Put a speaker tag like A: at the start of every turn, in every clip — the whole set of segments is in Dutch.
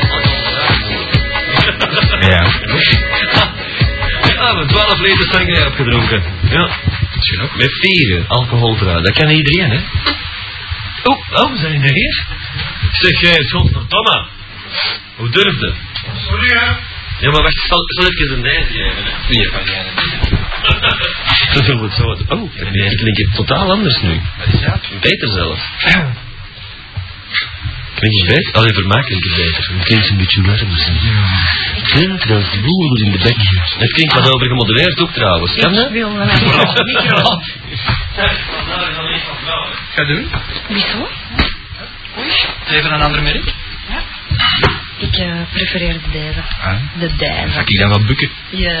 A: 12 Ah, liter sangria opgedronken. Ja.
B: Tja.
A: Met vieren alcoholverhaal. Dat kan iedereen, hè? Oeh, oh, we zijn er weer. Zeg, eh, godverdomme. Hoe durfde?
C: Sorry hè.
A: Ja, maar wacht, ik zal, ik zal even een lijst geven, hè.
B: Wie van jij?
A: Zo zullen we het zo doen. Oh, die lijst klinkt hier totaal anders nu.
B: Wat is dat?
A: Beter zelf. Klinkt het beter? Alleen voor mij klinkt het beter. Het klinkt een beetje warmer. zijn. Klinkt als bloer in de bek. Het klinkt wat over gemodelleerd ook trouwens. Kan dat?
D: Ik wil wel. Micro.
B: Ga doen.
D: Micro?
B: Even een andere merk.
D: Ik eh, prefereer de dijven.
B: Ah.
D: De
B: Ga
D: dijven.
B: ik dan wat bukken?
D: Ja.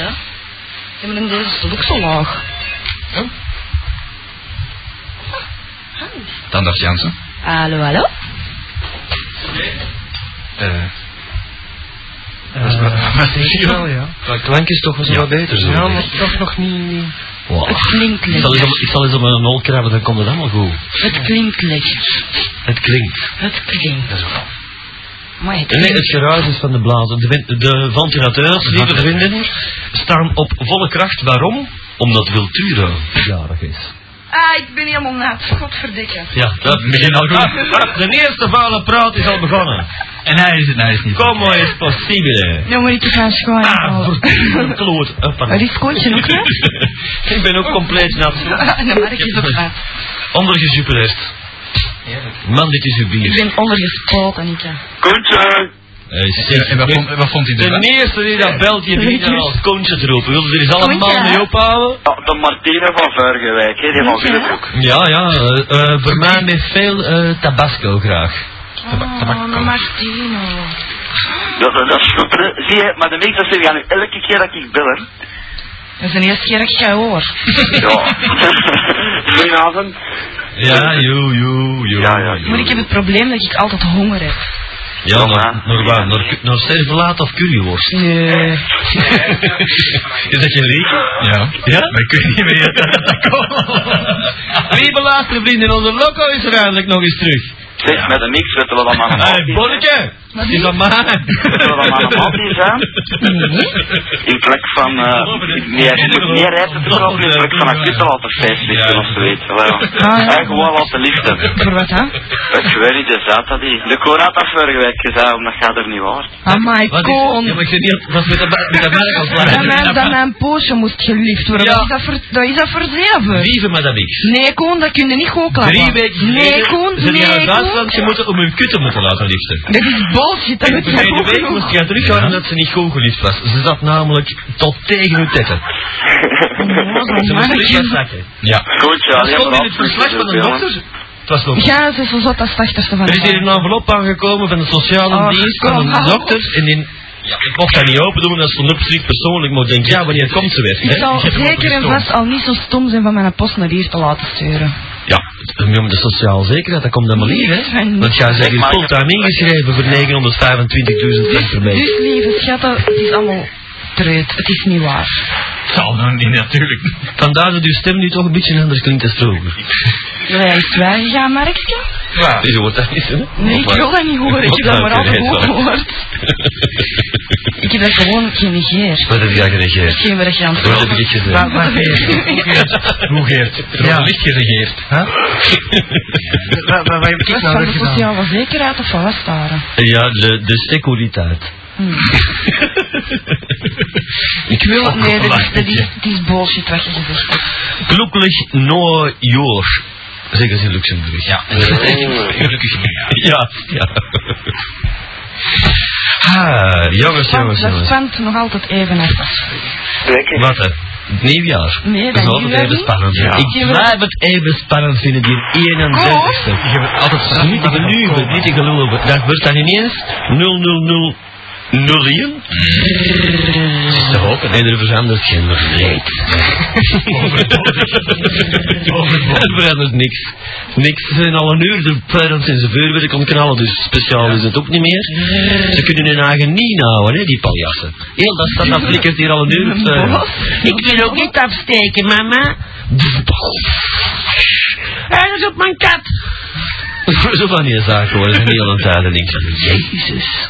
D: Ja, maar dan deze is toch ook zo laag.
B: Ja. Tandarts Jansen.
D: Hallo, hallo?
B: Eh. maar- maar-
C: denk ik Eh, wel, ja.
A: Qua klank is toch wel zo
B: Ja.
A: wat beter. Zo.
C: Ja, maar toch nog niet... niet-
A: Wow.
D: Het klinkt
A: Ik zal eens op-
D: lekker.
A: ik zal eens op mijn nol krabben, dan komt het allemaal goed.
D: Het klinkt lekker.
A: Het klinkt.
D: Het klinkt. Maar het
A: Nee, het
D: klinkt...
A: geruis is van de blazen. De, win- de ventilateurs, lieve vrienden, staan op volle kracht. Waarom? Omdat Wiltura jarig is.
D: Ah, ik ben helemaal nat. Godverdikke.
A: Ja, dat begint al goed. Ah, De eerste vuile praat is al begonnen.
B: En hij is het, hij is niet.
A: Kom eens possibile.
D: Nou, maar ik heb mijn schoon. Oh.
A: Ah, verdomme kloot. Ah, pardon.
D: Maar is koontje ook nat?
A: Ik ben ook compleet nat.
D: Ah, De mark is ook nat.
A: Ondergesupereerd. Man, dit is uw
D: Ik
A: bier.
D: ben ondergespoten, ik. hè.
C: Koentje!
A: Eh, zeg,
B: En wat vond, wat vond hij ervan?
A: De eerste die dat belt, die begint dan als koontje te roepen. Wilden er eens allemaal
D: Koontje, hè?
A: mee ophouden?
C: Ah, de Martine van Vergewijk, hè, die van
D: Koentje, hè?
C: Willebroek.
A: Ja, ja. eh, eh, voor mij met veel eh, tabasco graag.
D: Oh, maar Martino.
C: Dat, dat, dat is goed, hè. Zie je, maar de meeste zeggen ja, nu elke keer dat ik bel, hè.
D: Dat is de eerste keer dat ik jou hoor.
C: Ja. Goedenavond.
A: Ja, joe, joe, joe.
C: Ja, ja, joe.
D: Maar ik heb het probleem dat ik altijd honger heb.
A: Ja, naar, naar waar? Naar, cu- naar servelaat of curryworst?
D: Nee.
A: Is dat je leek?
B: Ja.
A: Ja?
B: Maar ik weet niet meer dat dat
A: Wie beluisteren vrienden, onze loco is er eindelijk nog eens terug.
C: Zeg, met een mix weten we dat
B: Ah,
C: maar een
B: nou.
A: Hé, hey,
C: maaltijd, hè.
A: Bonneke! Het is aan mij!
C: Weten we dat maar een maaltijd, hè.
D: Mhm.
C: In plek van... eh meer, je moet meer rijpen te kopen in plek van een kutte laten feestlichten of zoiets. Wel,
D: Ah, ja.
C: En gewoon laten lichten.
D: Voor wat dan?
C: Ik weet niet, de zaad dat die. De corona had dat vorige week gezegd, omdat gaat er niet waar.
D: Amai,
A: Wat is, ja,
D: kon.
A: maar je niet, wat is met de, met de merk als
D: Dat
A: waar?
D: mijn, dat mijn poosje moest geliefd worden.
A: Ja.
D: Dat, is dat, voor, dat is dat voor zeven.
A: Lieve madame X.
D: Nee, Koen, dat kun je niet goed klappen.
A: Drie weken
D: Nee,
A: geleden
D: Koen,
A: zijn die
D: nee,
A: uit Duitsland
D: Koen.
A: gemoeten om hun kutte moeten laten liften.
D: Dat is bullshit, dat moet
A: De
D: je
A: tweede
D: goed
A: week
D: doen.
A: moest gaan teruggaan omdat ze niet goed geliefd was. Ze zat namelijk tot tegen hun tetten.
D: Ja, zo'n
A: Ze moest terug gaan
D: mannetje.
A: zakken.
B: Ja.
C: Goed, ja,
A: Dat
C: alleen
A: stond in het
C: maar
A: verslag van de dokter. Het was nog
D: Ja, ze is zo zat als tachtigste van
A: Er
D: de
A: is hier een
D: maand.
A: envelop aangekomen van de sociale
D: Oh,
A: dienst
D: kom
A: van een
D: nou.
A: dokter. En in, ja, ik mocht dat niet open doen, dat stond op strikt persoonlijk. Maar ik denk, ja, wanneer komt ze weer?
D: Ik
A: hè?
D: zal
A: Ik heb hem
D: zeker en
A: opgestoken.
D: vast al niet zo stom zijn van mijn post naar hier te laten sturen.
A: Ja, om de sociaal zekerheid, dat komt helemaal hier, hè?
D: Nee.
A: Want jij bent
C: Ik
A: hier
C: maak-
A: fulltime ingeschreven voor 925.000 frank per
D: Dus
A: week.
D: lieve schatten, het is allemaal treut. Het is niet waar.
B: Zal nou niet, natuurlijk.
A: Vandaar dat uw stem nu toch een beetje anders klinkt dan vroeger.
D: Wil jij eens weggaan, Markske?
B: Ja.
A: Je hoort dat niet, hè?
D: Nee, ik wil dat niet horen. Ik heb dat maar altijd goed gehoord. Ik heb dat gewoon genegeerd.
A: Wat heb jij gereageerd?
D: Hetgeen waar je aan het
A: Wat heb ik gezegd?
D: Waar- waar-
B: Hoe Geert? Er
A: Ja.
B: wordt licht geregeerd.
C: Wat heb
D: Was van de sociale zekerheid of van was daar?
A: Ja, de, de securiteit.
D: Hmm. Ik wil... Nee, dat is,
A: wacht,
D: dat is,
A: ja.
D: het is bullshit wat je gezegd hebt.
A: Kloekelig no joor. Zeggen ze in Luxemburg.
B: Ja. Gelukkig niet, ja.
A: Ja, ja. Ah, jongens,
D: Want
A: jongens,
D: dat
A: jongens.
D: spant nog altijd even hard.
A: Wat hè? Het nieuwjaar.
D: Nee,
A: dat
D: dat
A: is altijd
D: nieuwjaar
A: even
D: niet.
A: spannend.
D: Ja.
A: Ik
D: Ja, maar-
A: blijf het even spannend vinden, die 31ste.
B: Je hebt altijd
A: Dat is niet te geloven, niet te geloven. Dat wordt dan ineens 0001. Te hopen. En er verandert geen reet. Er verandert niks. Niks. Ze zijn al een uur de pijlers in zijn vuurwerk om knallen, dus speciaal is het ook niet meer. Ze kunnen hun eigen niet houden, hè, die paljassen. Heel dat staat dat flikkert hier al een uur op zijn. Ik wil ook niet afsteken, mama. Hij is op mijn kat. Zo van die zaken hoor, dat is een hele tijd. En ik van, jezus.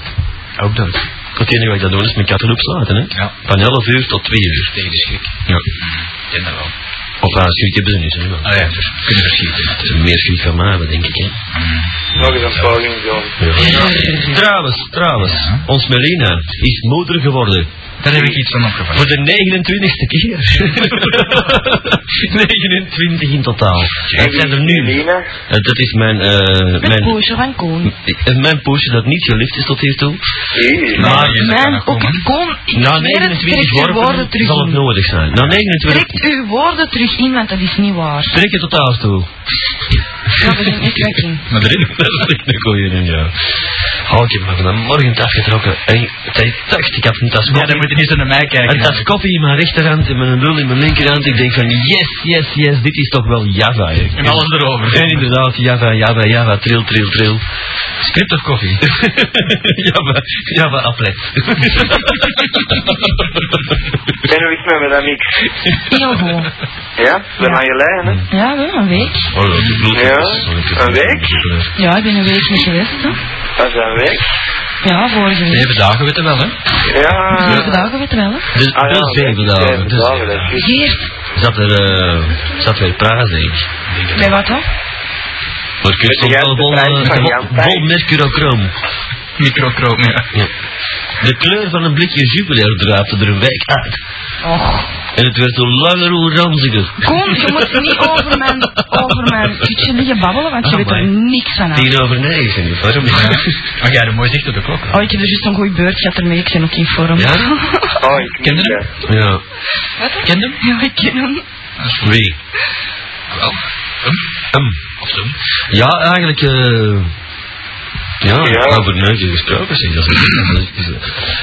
A: Ook dat. het enige wat ik dan doe is mijn katten opsluiten. Hè?
E: Ja.
A: Van 11 uur tot 2 uur.
E: Tegen de schrik.
A: Ja.
E: Ik ken dat wel.
A: Of aan schrik hebben ze niet. Hè? maar
E: Ah ja, dus kunnen verschieten.
A: Ze hebben meer schrik van mij, hebben, denk ik. Hè?
C: Mm. Nog eens een poging, John.
A: Ja. Trouwens, trouwens,
E: Ja.
A: ons Melina is moeder geworden.
E: Daar heb ik iets van opgevangen.
A: Voor de 29ste keer. 29 in totaal. Het zijn er nu.
C: Lina,
A: Eh, Dat is mijn, eh,
D: Met
A: mijn,
D: Poosje van Koen.
A: eh, mijn poosje dat niet geliefd is tot hiertoe.
C: hey,
E: Maar je kan
D: Mijn,
E: nog
D: ook
E: komen.
D: Koen, ik
A: Na
D: zweer het,
A: 29
D: trek uw woorden
A: worpen
D: terug
A: zal het
D: in.
A: nodig zijn. Na 29
D: Trek uw woorden terug in, want dat is niet waar.
A: trek je tot daar toe.
D: Ja, we zijn echt wekking.
E: Maar erin.
A: Dat is echt een goeie ding, ja. Oh, ik heb me vanmorgen afgetrokken. En ik- ik dacht, ik had een tas
E: Ja, dan moet je niet zo naar mij kijken.
A: Een tas koffie in mijn rechterhand en mijn lul in mijn linkerhand. Ik denk van yes, yes, yes, dit is toch wel Java. hè.
E: En alles erover.
A: En inderdaad, Java, Java, Java, trill, trill, trill.
E: Script of koffie?
A: Java, Java applet.
C: ben hoe is het met dat niks?
D: Heel goed.
C: Ja, ik ben
D: Ja.
C: aan je lijn, hè?
D: Ja, wel een week.
C: Ja, een week?
D: Ja, ik ben een week niet geweest. Hè.
C: Dat is een week.
D: Ja, vorige week.
E: Zeven dagen weten wel, hè?
C: Ja.
D: Zeven dagen weet je wel. hè.
A: Dus
C: Ah, ja,
A: wel zeven dagen.
C: Zeven
A: dus
C: dagen, dat is juist.
D: Geert,
A: Zat er, eh, zat weer praat, denk ik.
D: bij wat dan?
A: Maar kun je
C: Met de
A: stond wel
C: juiste
A: vol,
C: prijs
A: eh,
C: van
A: vol-
C: Jan Pijs.
A: vol mercurochrome.
E: Microcroop, ja.
A: Ja. De kleur van een blikje jubilair draapte er een wijk uit.
D: Och.
A: En het werd hoe langer hoe ranziger.
D: Koen, je moet niet over mijn, over mijn kutje liggen babbelen, want je weet er
A: Ah, Amai.
D: niks van af.
A: Tien over negen, waarom niet?
E: Maar jij hebt een mooi zicht op Oh de klok.
D: Oh, ik heb er juist een goeie beurt gehad ermee, ik ben ook in vorm.
A: Ja?
C: Oh, ik niet,
E: Kinderen?
C: hè.
A: Ja.
D: Wat?
E: Ken hem?
D: Ja, ik ken hem.
A: Wie?
E: Wel. Hem?
A: Hem.
E: Of zo.
A: Ja, eigenlijk... eh ja,
C: Ja.
A: over neukjes gesproken zeg. Dat is, dat is-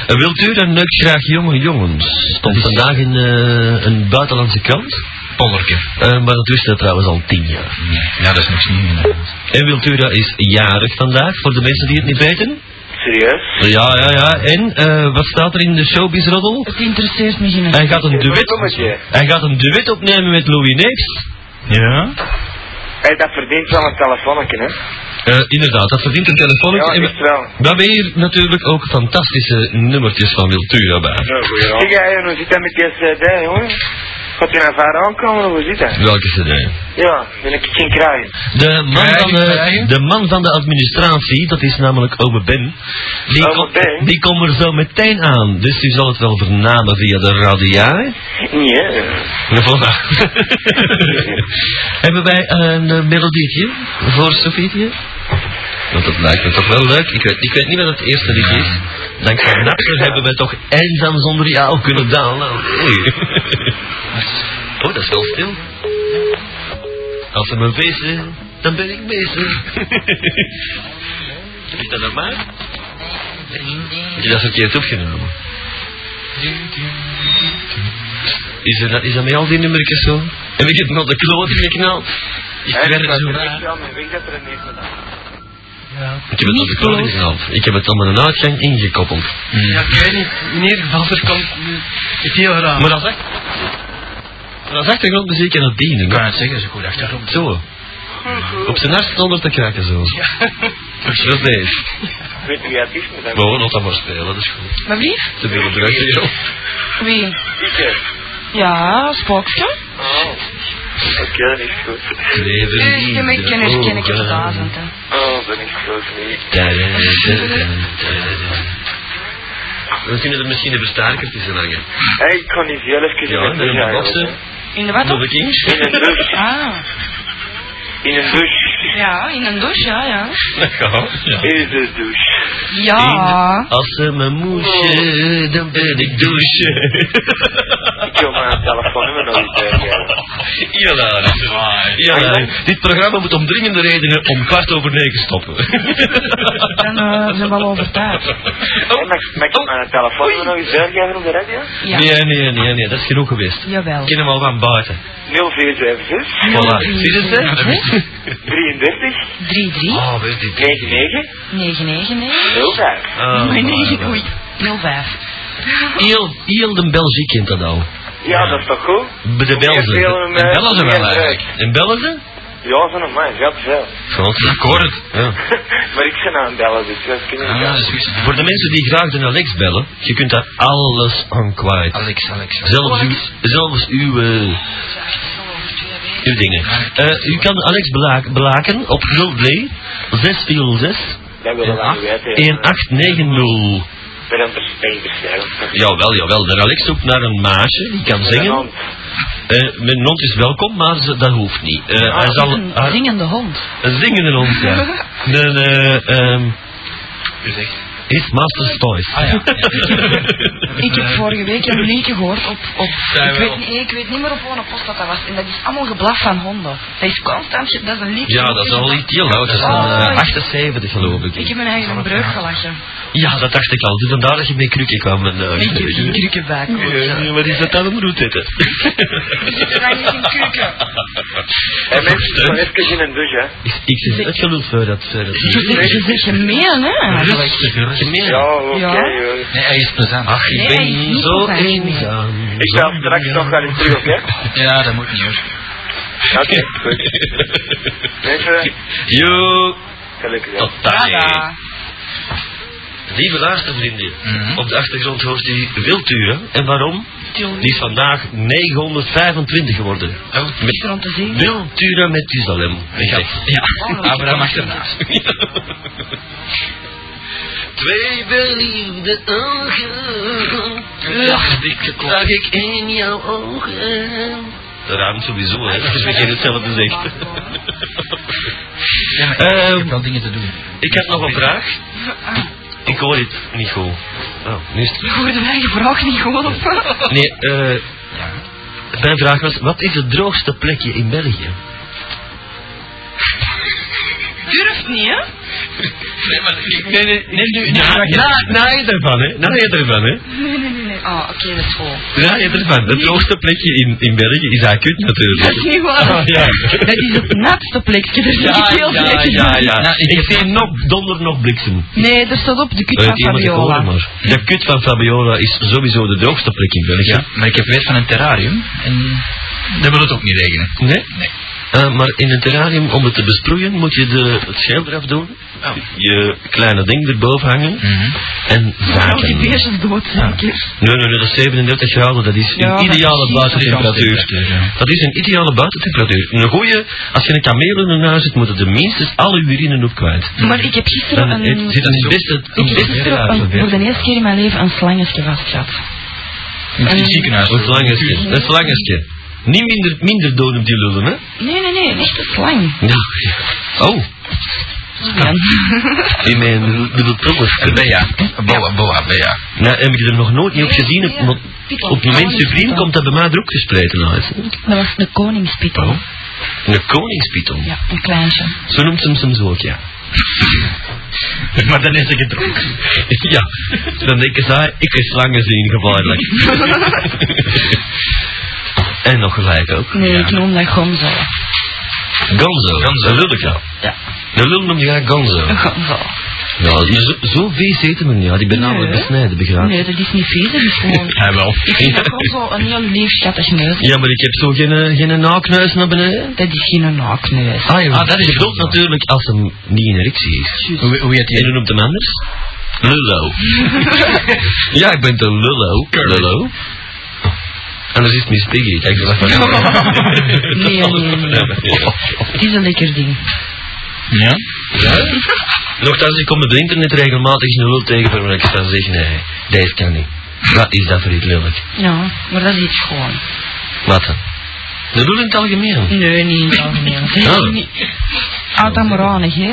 A: Eh, wilt u dan neukt graag jonge jongens? Stond vandaag in eh, een buitenlandse krant.
E: Pollerke.
A: Eh, maar dat wist hij trouwens al tien jaar.
E: Ja, dat is niks nieuws. inderdaad.
A: En Wiltura is jarig vandaag, voor de mensen die het niet weten.
C: Serieus?
A: Ja, ja, ja. En eh, wat staat er in de showbizroddel?
D: Het interesseert me geen
A: Hij gaat een
C: Een
A: duet,
C: bloemetje.
A: hij gaat een duet opnemen met Louis Neefs.
E: Ja?
C: Hey, dat verdient wel een telefoonnetje, hè?
A: Eh, inderdaad, dat verdient een telefoontje.
C: Ja,
A: En we-
C: echt wel.
A: we hebben hier natuurlijk ook fantastische nummertjes van Wiltura bij.
C: Zeg, hey, hoe zit dat met die CD, jongen? Gaat die naar vaar aankomen, of hoe zit dat?
A: Welke cd?
C: Ja, ben ik geen kraai.
A: De man,
E: Krijgen,
A: van de,
E: krijgen.
A: de man van de administratie, dat is namelijk Ome Ben. Die,
C: Ome
A: komt-
C: Ben?
A: die komt er zo meteen aan. Dus u zal het wel vernamen via de radio.
C: Nee, hè.
A: Ja, voilà. Hebben wij een eh, melodietje voor Sofietje? Want dat lijkt me toch wel leuk. Ik weet, ik weet niet wat het eerste liedje is. Dankzij Napster hebben wij toch eenzaam zonder jou kunnen downloaden. Hey. Oh, dat is wel stil. Als ze me wissen, dan ben ik bezig. Is dat normaal? Heb je dat verkeerd opgenomen? Is, er, is dat met al die nummertjes zo? Heb ik het nog de kloot ingeknald? Ik
C: Hey,
A: werd
C: dat
A: zo
C: is
A: raar.
C: echt wel mijn weg dat er een neef gedaan.
A: Ik heb het nog de kloot ingeknald. Ik heb het allemaal een uitgang ingekoppeld.
F: Ja, ik weet niet. In ieder geval, er komt nu... Het heel raar.
A: Maar dat is echt... Dat is achtergrondmuziek en dat dienen.
E: Ik
A: hè?
E: kan het zeggen, dat is een goed achtergrond.
A: Zo. Op zijn hart zonder te kraken zo. Dat is deze.
C: Weet je wie het is, maar dat
A: We wonen dat maar spelen, dat is goed.
D: Mijn brief?
A: Ze willen eruit hier.
D: Wie?
C: Ik, hè.
D: Ja, Spookske.
C: Oh. Oké, dat is goed.
A: Kleven
D: Ik ken ik ken ik ken ik
A: ogen.
D: het duizend. hè.
C: Oh, dat is goed, nee.
A: Tadadadada, tadadadada. We kunnen er misschien een versterker tussen hangen.
C: Hey, ik kan niet heel even
A: Ja,
C: in
A: en een
C: mijn douche
A: boxen.
C: eigenlijk,
D: In de wat?
A: Nog een
D: dan?
A: kind.
C: hè.
D: Ah,
C: In een douche. In een douche.
D: ja, in een douche, ja, ja.
A: Dat gaat.
C: In de douche.
D: Ja.
A: Als ze me moesje, dan ben ik douche.
C: Ik wil mijn telefoonnummer nog eens bijgeven.
A: Jawel. Jawel. Dit programma moet om dringende redenen om kwart over negen stoppen. Oh.
D: Dan eh, zijn we al over tijd.
C: Hey, mag, mag ik mijn telefoonnummer nog eens bijgeven op de radio?
D: Ja.
A: Nee, nee, nee, nee, dat is genoeg geweest.
D: Jawel.
A: Ik ken hem al van buiten.
C: 0476
A: Voilà. Zie je
D: Ja, dat wist
A: het?
C: 33
D: 3-3,
A: Oh, weet je dit?
C: 99
D: 999,
C: 05.
A: Oh, maar, maar.
D: 05.
A: Heel, heel de België kent dat al.
C: Ja, dat is toch goed?
A: Bij de
C: Hoe meer
A: Belgen.
C: spelen we
A: En
C: met-
G: eh,
A: bellen ze
C: hoe meer
A: wel eigenlijk.
C: werk.
A: En bellen ze?
G: Ja, zo'n man, gaat veel.
A: Frans.
B: Ik hoor het.
A: Ja.
G: maar ik ben aan het bellen, dus dat kan niet.
B: Ah,
G: gaan.
B: dat is goed.
A: Voor de mensen die graag de Alex bellen, je kunt daar alles aan kwijt.
B: Alex, Alex.
A: Zelfs, uw, zelfs uw, eh, uw dingen. Eh, u kan Alex bela- belaken op 03 646
G: Dat willen we niet weten. hè.
A: 1890.
G: Ben een perspectief, ja.
A: Jawel, jawel. De Alex zoekt naar een maasje die kan zingen. Eh, mijn hond is welkom, maar ze- dat hoeft niet. Eh,
B: Ah,
A: hij zal
D: Een
A: haar-
D: zingende hond.
A: een zingende hond ja. Een, eh, ehm, his master's toys.
B: Ah ja.
D: Ik heb vorige week een liedje gehoord op, op
B: Ja,
D: ik,
B: wel.
D: weet niet, ik weet niet meer op welke post dat, dat was. En dat is allemaal geblaf van honden. Dat is constant, ge- dat is een liedje.
A: Ja, dat is al iets heel oud. Dat is van eh, 78 geloof ik.
D: Ik heb mijn eigen een breuk gelachen.
A: Ja, dat dacht ik al. Dus vandaar dat je mee krukken kwam. En, eh,
D: Ik heb geen krukken bij.
A: Eh, wat is dat dan een roetete?
G: En mensen, maar even in een douche, hè.
A: Ik zeg het genoeg voor dat. Voor dat
D: Je zegt gemeen, hè?
A: Rustig, rustig.
G: Ja, oké,
D: Ah, Ja.
G: hoor.
B: Nee, hij is plezant.
A: Ach, ik
D: Nee, hij is
A: ben
D: niet
A: zo
D: plezant.
A: eenzaam.
G: Ik sta straks nog wel eens terug op, hè.
B: Ja, dat moet niet hoor.
G: Oké, goed. Mensen,
A: Yo,
G: gelukkig, hè.
A: tot daar. Lieve luistervrienden,
B: Mhm.
A: op de achtergrond hoort u Wilturen. En waarom? Die is vandaag 925 geworden. Met
D: Om te zien.
A: Wilturen met Oh. Islam.
B: Oh. Ja, Abraham achternaast.
A: Twee beliefde ogen, oh, zag ik in jouw ogen. Dat ruimt sowieso, hè. Dus we beginnen hetzelfde zeggen.
B: Ja, maar ik
A: Ehm,
B: heb wel dingen te doen.
A: ik heb nog een vraag.
D: Ah.
A: Ik hoor het niet goed. Oh, nu is het-
D: Je hoorde mijn eigen vraag niet gewoon op.
A: Nee, eh... Mijn vraag was, wat is het droogste plekje in België?
D: Durft niet, hè?
B: Nee, maar ik...
A: Nee, nee, nee, na, na, na je ervan, hè. Na je ervan, hè.
D: Nee, nee, nee. nee. Ah, oké, dat is vol.
A: Na je ervan. Het droogste plekje in, in België is Akut,
D: Dat
A: natuurlijk.
D: is niet waar.
A: Ah, ja.
D: Dat is het natste plekje. Er zit ik heel
A: ja,
D: plekjes
A: ja,
D: in.
A: ja.
B: Nou, ik
A: ik zie nog donder nog bliksem. Eh,
D: Nee, er staat op de kut van
A: iemand ik hoor,
D: Fabiola.
A: maar. De kut van Fabiola is sowieso de droogste plek in België.
B: Ja, maar ik heb weet van een terrarium en dat wil het ook niet regenen.
A: Nee?
B: Nee.
A: Eh, maar in een terrarium, om het te besproeien, moet je de, het scheel eraf doen.
B: Oh.
A: Je kleine ding erboven hangen. En
D: Maar al die
A: zaken. Nee,
D: beestjes dood zijn, keer.
A: nee, nee, dat is 37 graden. Dat is
D: Ja, maar
A: een ideale
D: precies.
A: buitentemperatuur.
B: Ja.
A: Dat is een ideale buitentemperatuur. Een goeie, als je een kameel in huis hebt, moeten de minstens alle urine op kwijt.
D: Maar ik heb gisteren
A: Dan
D: een...
A: het- zit het beste,
D: Ik
A: het
D: heb
A: beste
D: gisteren
A: terrarium.
D: een, voor de eerste keer in mijn leven een slangetje vastgehad.
B: In het ziekenhuis.
A: Een slangetje, een slangetje. Niet minder, minder dood op die lullen, hè?
D: Nee, nee, nee, een echte slang.
A: Ja. Oh,
D: Ja.
A: in mijn little proggers.
B: Een Bea. Een Boa, boa, Bea.
A: Nou, heb ik er nog nooit niet op gezien.
D: Nee, nee,
A: want
D: Pietel.
A: op het moment supreme
D: Koningspietel.
A: komt dat bij mij er ook gespleten uit.
D: Dat was een koningspietel.
A: Oh. Een koningspython.
D: Ja, een kleintje.
A: Zo noemt ze hem soms ook, ja.
B: Maar dan is het gedronken.
A: ja, dan denken zij, ik is slangen zien, gevaarlijk. en nog gelijk ook.
D: Nee, ik noem dat gonzo.
A: Gonzo,
B: Gonzo.
A: Gonzo. lulletje.
D: Ja.
A: De lul noemt je Gonzo.
D: Een gonzo.
A: Ja, die- zo, zo vies eten men ja. Die ben namelijk
D: Nee.
A: besnijden, begrijp je?
D: Nee, dat is niet vies, dat is gewoon...
B: Hij wel.
D: Ik vind dat gonzo een heel lief, schattig neus.
A: Ja, maar ik heb zo geen, eh, geen naakneus naar beneden.
D: Dat is geen naakneus.
A: Ah, ja,
B: Ah, dat is
A: je bedoelt
B: goed.
A: natuurlijk als hem niet in erectie is.
B: Hoe, hoe heet
A: En
B: die?
A: hoe noemt hem anders? Lullo. ja, ik ben de Lullo. Lullo. En dat is Miss Piggy. Kijk, dat was
D: Nee, nee, nee. Het is een lekker ding.
B: Ja?
A: Nogthans, ik kom op het internet regelmatig een lul tegen waarvan ik dan zeg, nee, deze kan niet. Wat is dat voor iets lelijk?
D: Ja, maar dat is iets gewoon.
A: Wat dan? De lul in het algemeen.
D: Nee, niet in het algemeen. Zeg
A: Oh.
D: niet. Houd dat maar aan, hè?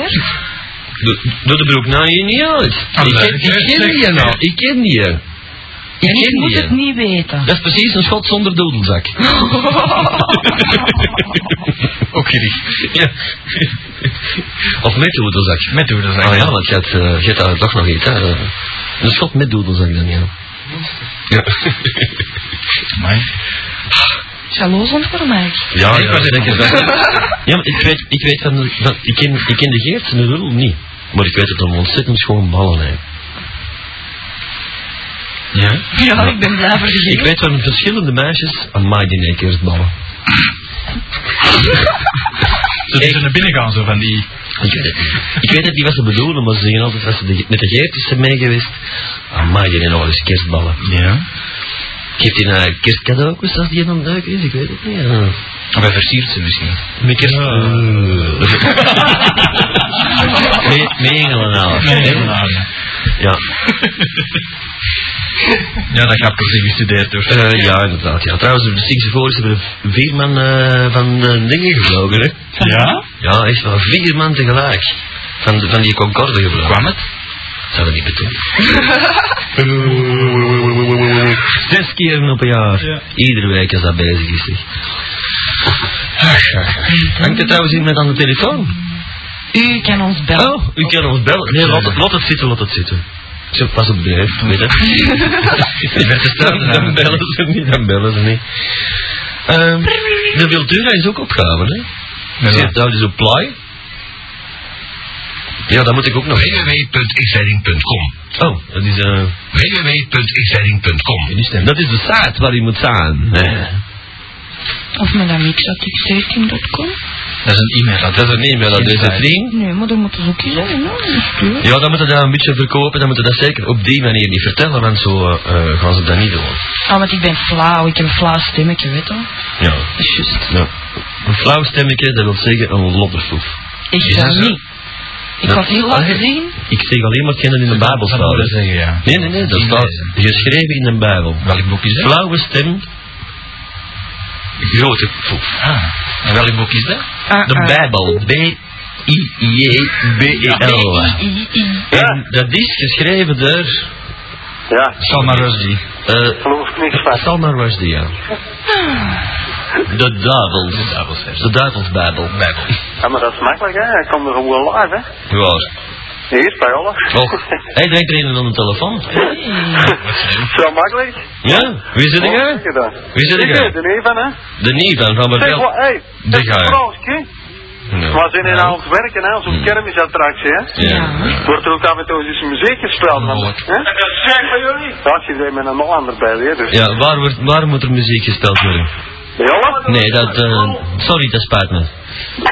A: Doe- Doe de broek nou hier niet uit. Ik ken, ik ken die nou. Ik ken die. Ik
D: En ik
A: ken
D: moet het
A: die.
D: niet weten.
A: Dat is precies een schot zonder dodelzak.
B: Ook gericht.
A: Ja. Of met doedelzak.
B: Met hoe dat
A: Ah ja, want je hebt, eh, je hebt daar toch nog iets, hè. eh, Een schot met doedelzak dan, ja. Ja,
D: Jaloers ontworpen eigenlijk.
A: ja,
B: ik was
A: dat
B: even-
A: denk ik wel. Ja, maar ik weet, ik weet van, van- ik, ken, ik ken de Geert zijn rul niet. Maar ik weet dat hem ontzettend schoon ballen heeft. Ja?
D: Ja, ik ben blij voor de
A: Ik weet van verschillende meisjes, amai die nek eerst ballen.
B: Dat is naar binnen gaan, zo van die...
A: Ik weet het niet. Ik weet het niet wat ze bedoelen, maar ze zeggen altijd, als ze de- met de geertjes zijn mee geweest, amai, die hebben nog eens kerstballen.
B: Ja.
A: Geeft hij een kerstcadeau ook eens als die aan het duiken is? Ik weet het niet. Ja.
B: Of hij versiert ze misschien.
A: Met kerst... mee, mee Engelenhaal. Ja.
B: Ja, dat gaat per se gestudeerd dus. door.
A: Eh, ja, inderdaad. Ja. Trouwens, de Singapore hebben er vier man eh, van eh, dingen gevlogen, hè.
B: Ja?
A: Ja, echt wel. Vier man tegelijk. Van, de- van die Concorde gevlogen.
B: Kwam het?
A: Zou dat niet betekenen? Zes keer op een jaar.
B: Ja.
A: Iedere week als dat bezig is. zeg. Hangt er trouwens iemand aan de telefoon?
D: U kan ons bellen.
A: Oh, u kan ons bellen. Nee, laat het, laat het zitten, laat het zitten. Zo pas op blijf, weet je. dan, dan bellen ze niet, dan bellen ze niet. Ehm, de Wildura is ook opgehouden, hè?
B: Ja.
A: Zit nou dus op play? Ja, dat moet ik ook nog.
H: www.exciting.com
A: Oh, dat is eh.
H: www.exciting.com
A: Dat is de site waar je moet staan. Oh.
D: Of met dat mix.x13.com.
B: Dat is een e-mail.
A: Dat is een e-mailadres, dat ding.
D: Nee, maar dat moet ook eens zijn, hoor. Dat is duur.
A: Ja, dan moeten we dat een beetje verkopen, dan moeten we dat zeker op die manier niet vertellen, want zo eh, gaan ze dat niet doen.
D: Ah, want ik ben flauw. Ik heb een flauw stemmetje, weet je wel.
A: Ja.
D: Dat is juist.
A: ja. Een flauw stemmetje, dat wil zeggen een loddersoef.
D: Ik
A: dat
D: dat
A: zo?
D: niet. Ik
A: Dat-
D: kan het niet
A: Ah,
D: laten zien.
A: Ik zeg alleen maar het in de Bijbel
B: Dat wil
A: staat.
B: ik
A: hè.
B: zeggen, ja.
A: Nee, nee, nee, dat staat geschreven in de Bijbel.
B: Welk boek is dat?
A: Flauwe stem, grote poef.
B: Ah. En welk boek is dat?
D: Ah,
A: De
D: ah.
A: Bijbel, B-I-J-B-E-L. E En dat is geschreven door
G: Ja,
B: Salma Rushdie.
A: eh,
G: geloof ik niks van.
A: Salman Rushdie, ja.
D: Ah.
A: De duivels. De duivelsbijbel. Bijbel.
G: Ja, maar dat is makkelijk, hè. Hij komt er gewoon live, hè.
A: Ja.
G: Hier, bij Olaf.
A: Och, hij denkt er een aan de telefoon.
G: Zo makkelijk. Oh,
A: Ja, wie zit
G: Wat
A: er?
G: zeg dan?
A: Wie zit
G: Ik
A: er?
G: weet het niet van, hè.
A: De Nivan van
G: Zeg, wat,
A: Berdel.
G: hé.
A: De Gaar.
G: Maar ze zijn in aan het werken, hè. Zo'n
A: Hmm.
G: kermisattractie, hè.
A: Ja.
G: Wordt er ook af en toe eens muziek gespeeld, man. Hè? Dat zijn van jullie. Dat zit er met een Hollander bij, hè. Dus.
A: Ja, waar, wordt, waar moet er muziek gespeeld worden?
G: Bij Olaf?
A: Nee, dat... eh, sorry, dat spijt me.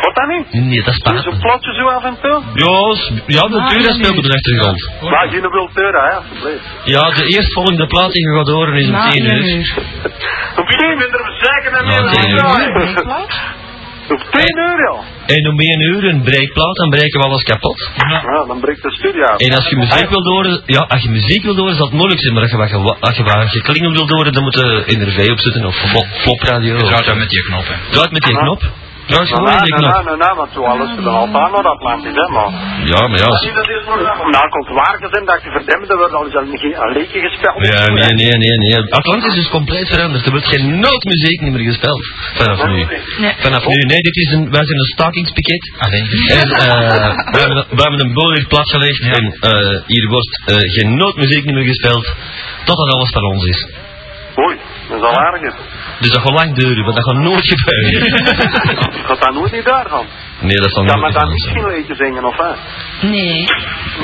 G: Wat dan niet?
A: Nee, dat
G: Doe
A: spijt
G: Zo
A: me.
G: plotje zo af en toe.
A: Ja, s- ja natuurlijk dat speelt op de achtergrond.
G: Maar geen wildeura, hè, alsjeblieft.
A: Ja, de eerstvolgende plaat die je gaat horen is om
D: Na
A: 10
D: een
A: uur.
D: uur.
G: Op tien uur zeker naar
A: Ja, tien uur.
G: Op tien uur, joh.
A: En om 1 uur een breekplaat, dan breken we alles kapot.
G: Ja, dan breekt de studio af.
A: En als je muziek wilt horen, ja, als je muziek wilt horen, zal het moeilijk zijn, maar als je wat, gewa- als je wat geklingel wilt horen, dan moet je NRV opzetten of flop, flopradio.
B: Je draait
A: Draait
B: dan met je knop, hè.
A: met die knop. Draait
G: Nou,
A: gewoon met die
G: nou, nou,
A: knop.
G: nou, nou, want zo alles is dan al aan naar Atlantis, hè, maar.
A: Ja, maar ja. als-
G: Nou, komt waar gezien dat je verdemde er wordt al eens een, een leekje gespeeld.
A: Ja, nee, nee, nee, nee. Atlantis is compleet veranderd. Er wordt geen noot muziek niet meer gespeeld. Vanaf nu.
D: Nee.
A: Vanaf nu, nee, dit is een, wij zijn een stakingspakket.
B: Ah, nee.
A: En eh, we, hebben, we hebben een bolig platgelegd en eh, hier wordt eh, geen noodmuziek meer gespeeld totdat alles van ons is.
G: Oei, dat is al aardig.
A: Dus dat gaat lang duren, want dat gaat nooit gebeuren.
G: Gaat dat nooit niet daarvan?
A: Nee, dat zal
G: Kan
A: nooit
G: men dan niet
A: gebeuren.
G: geen leekje zingen, of hè?
D: Nee.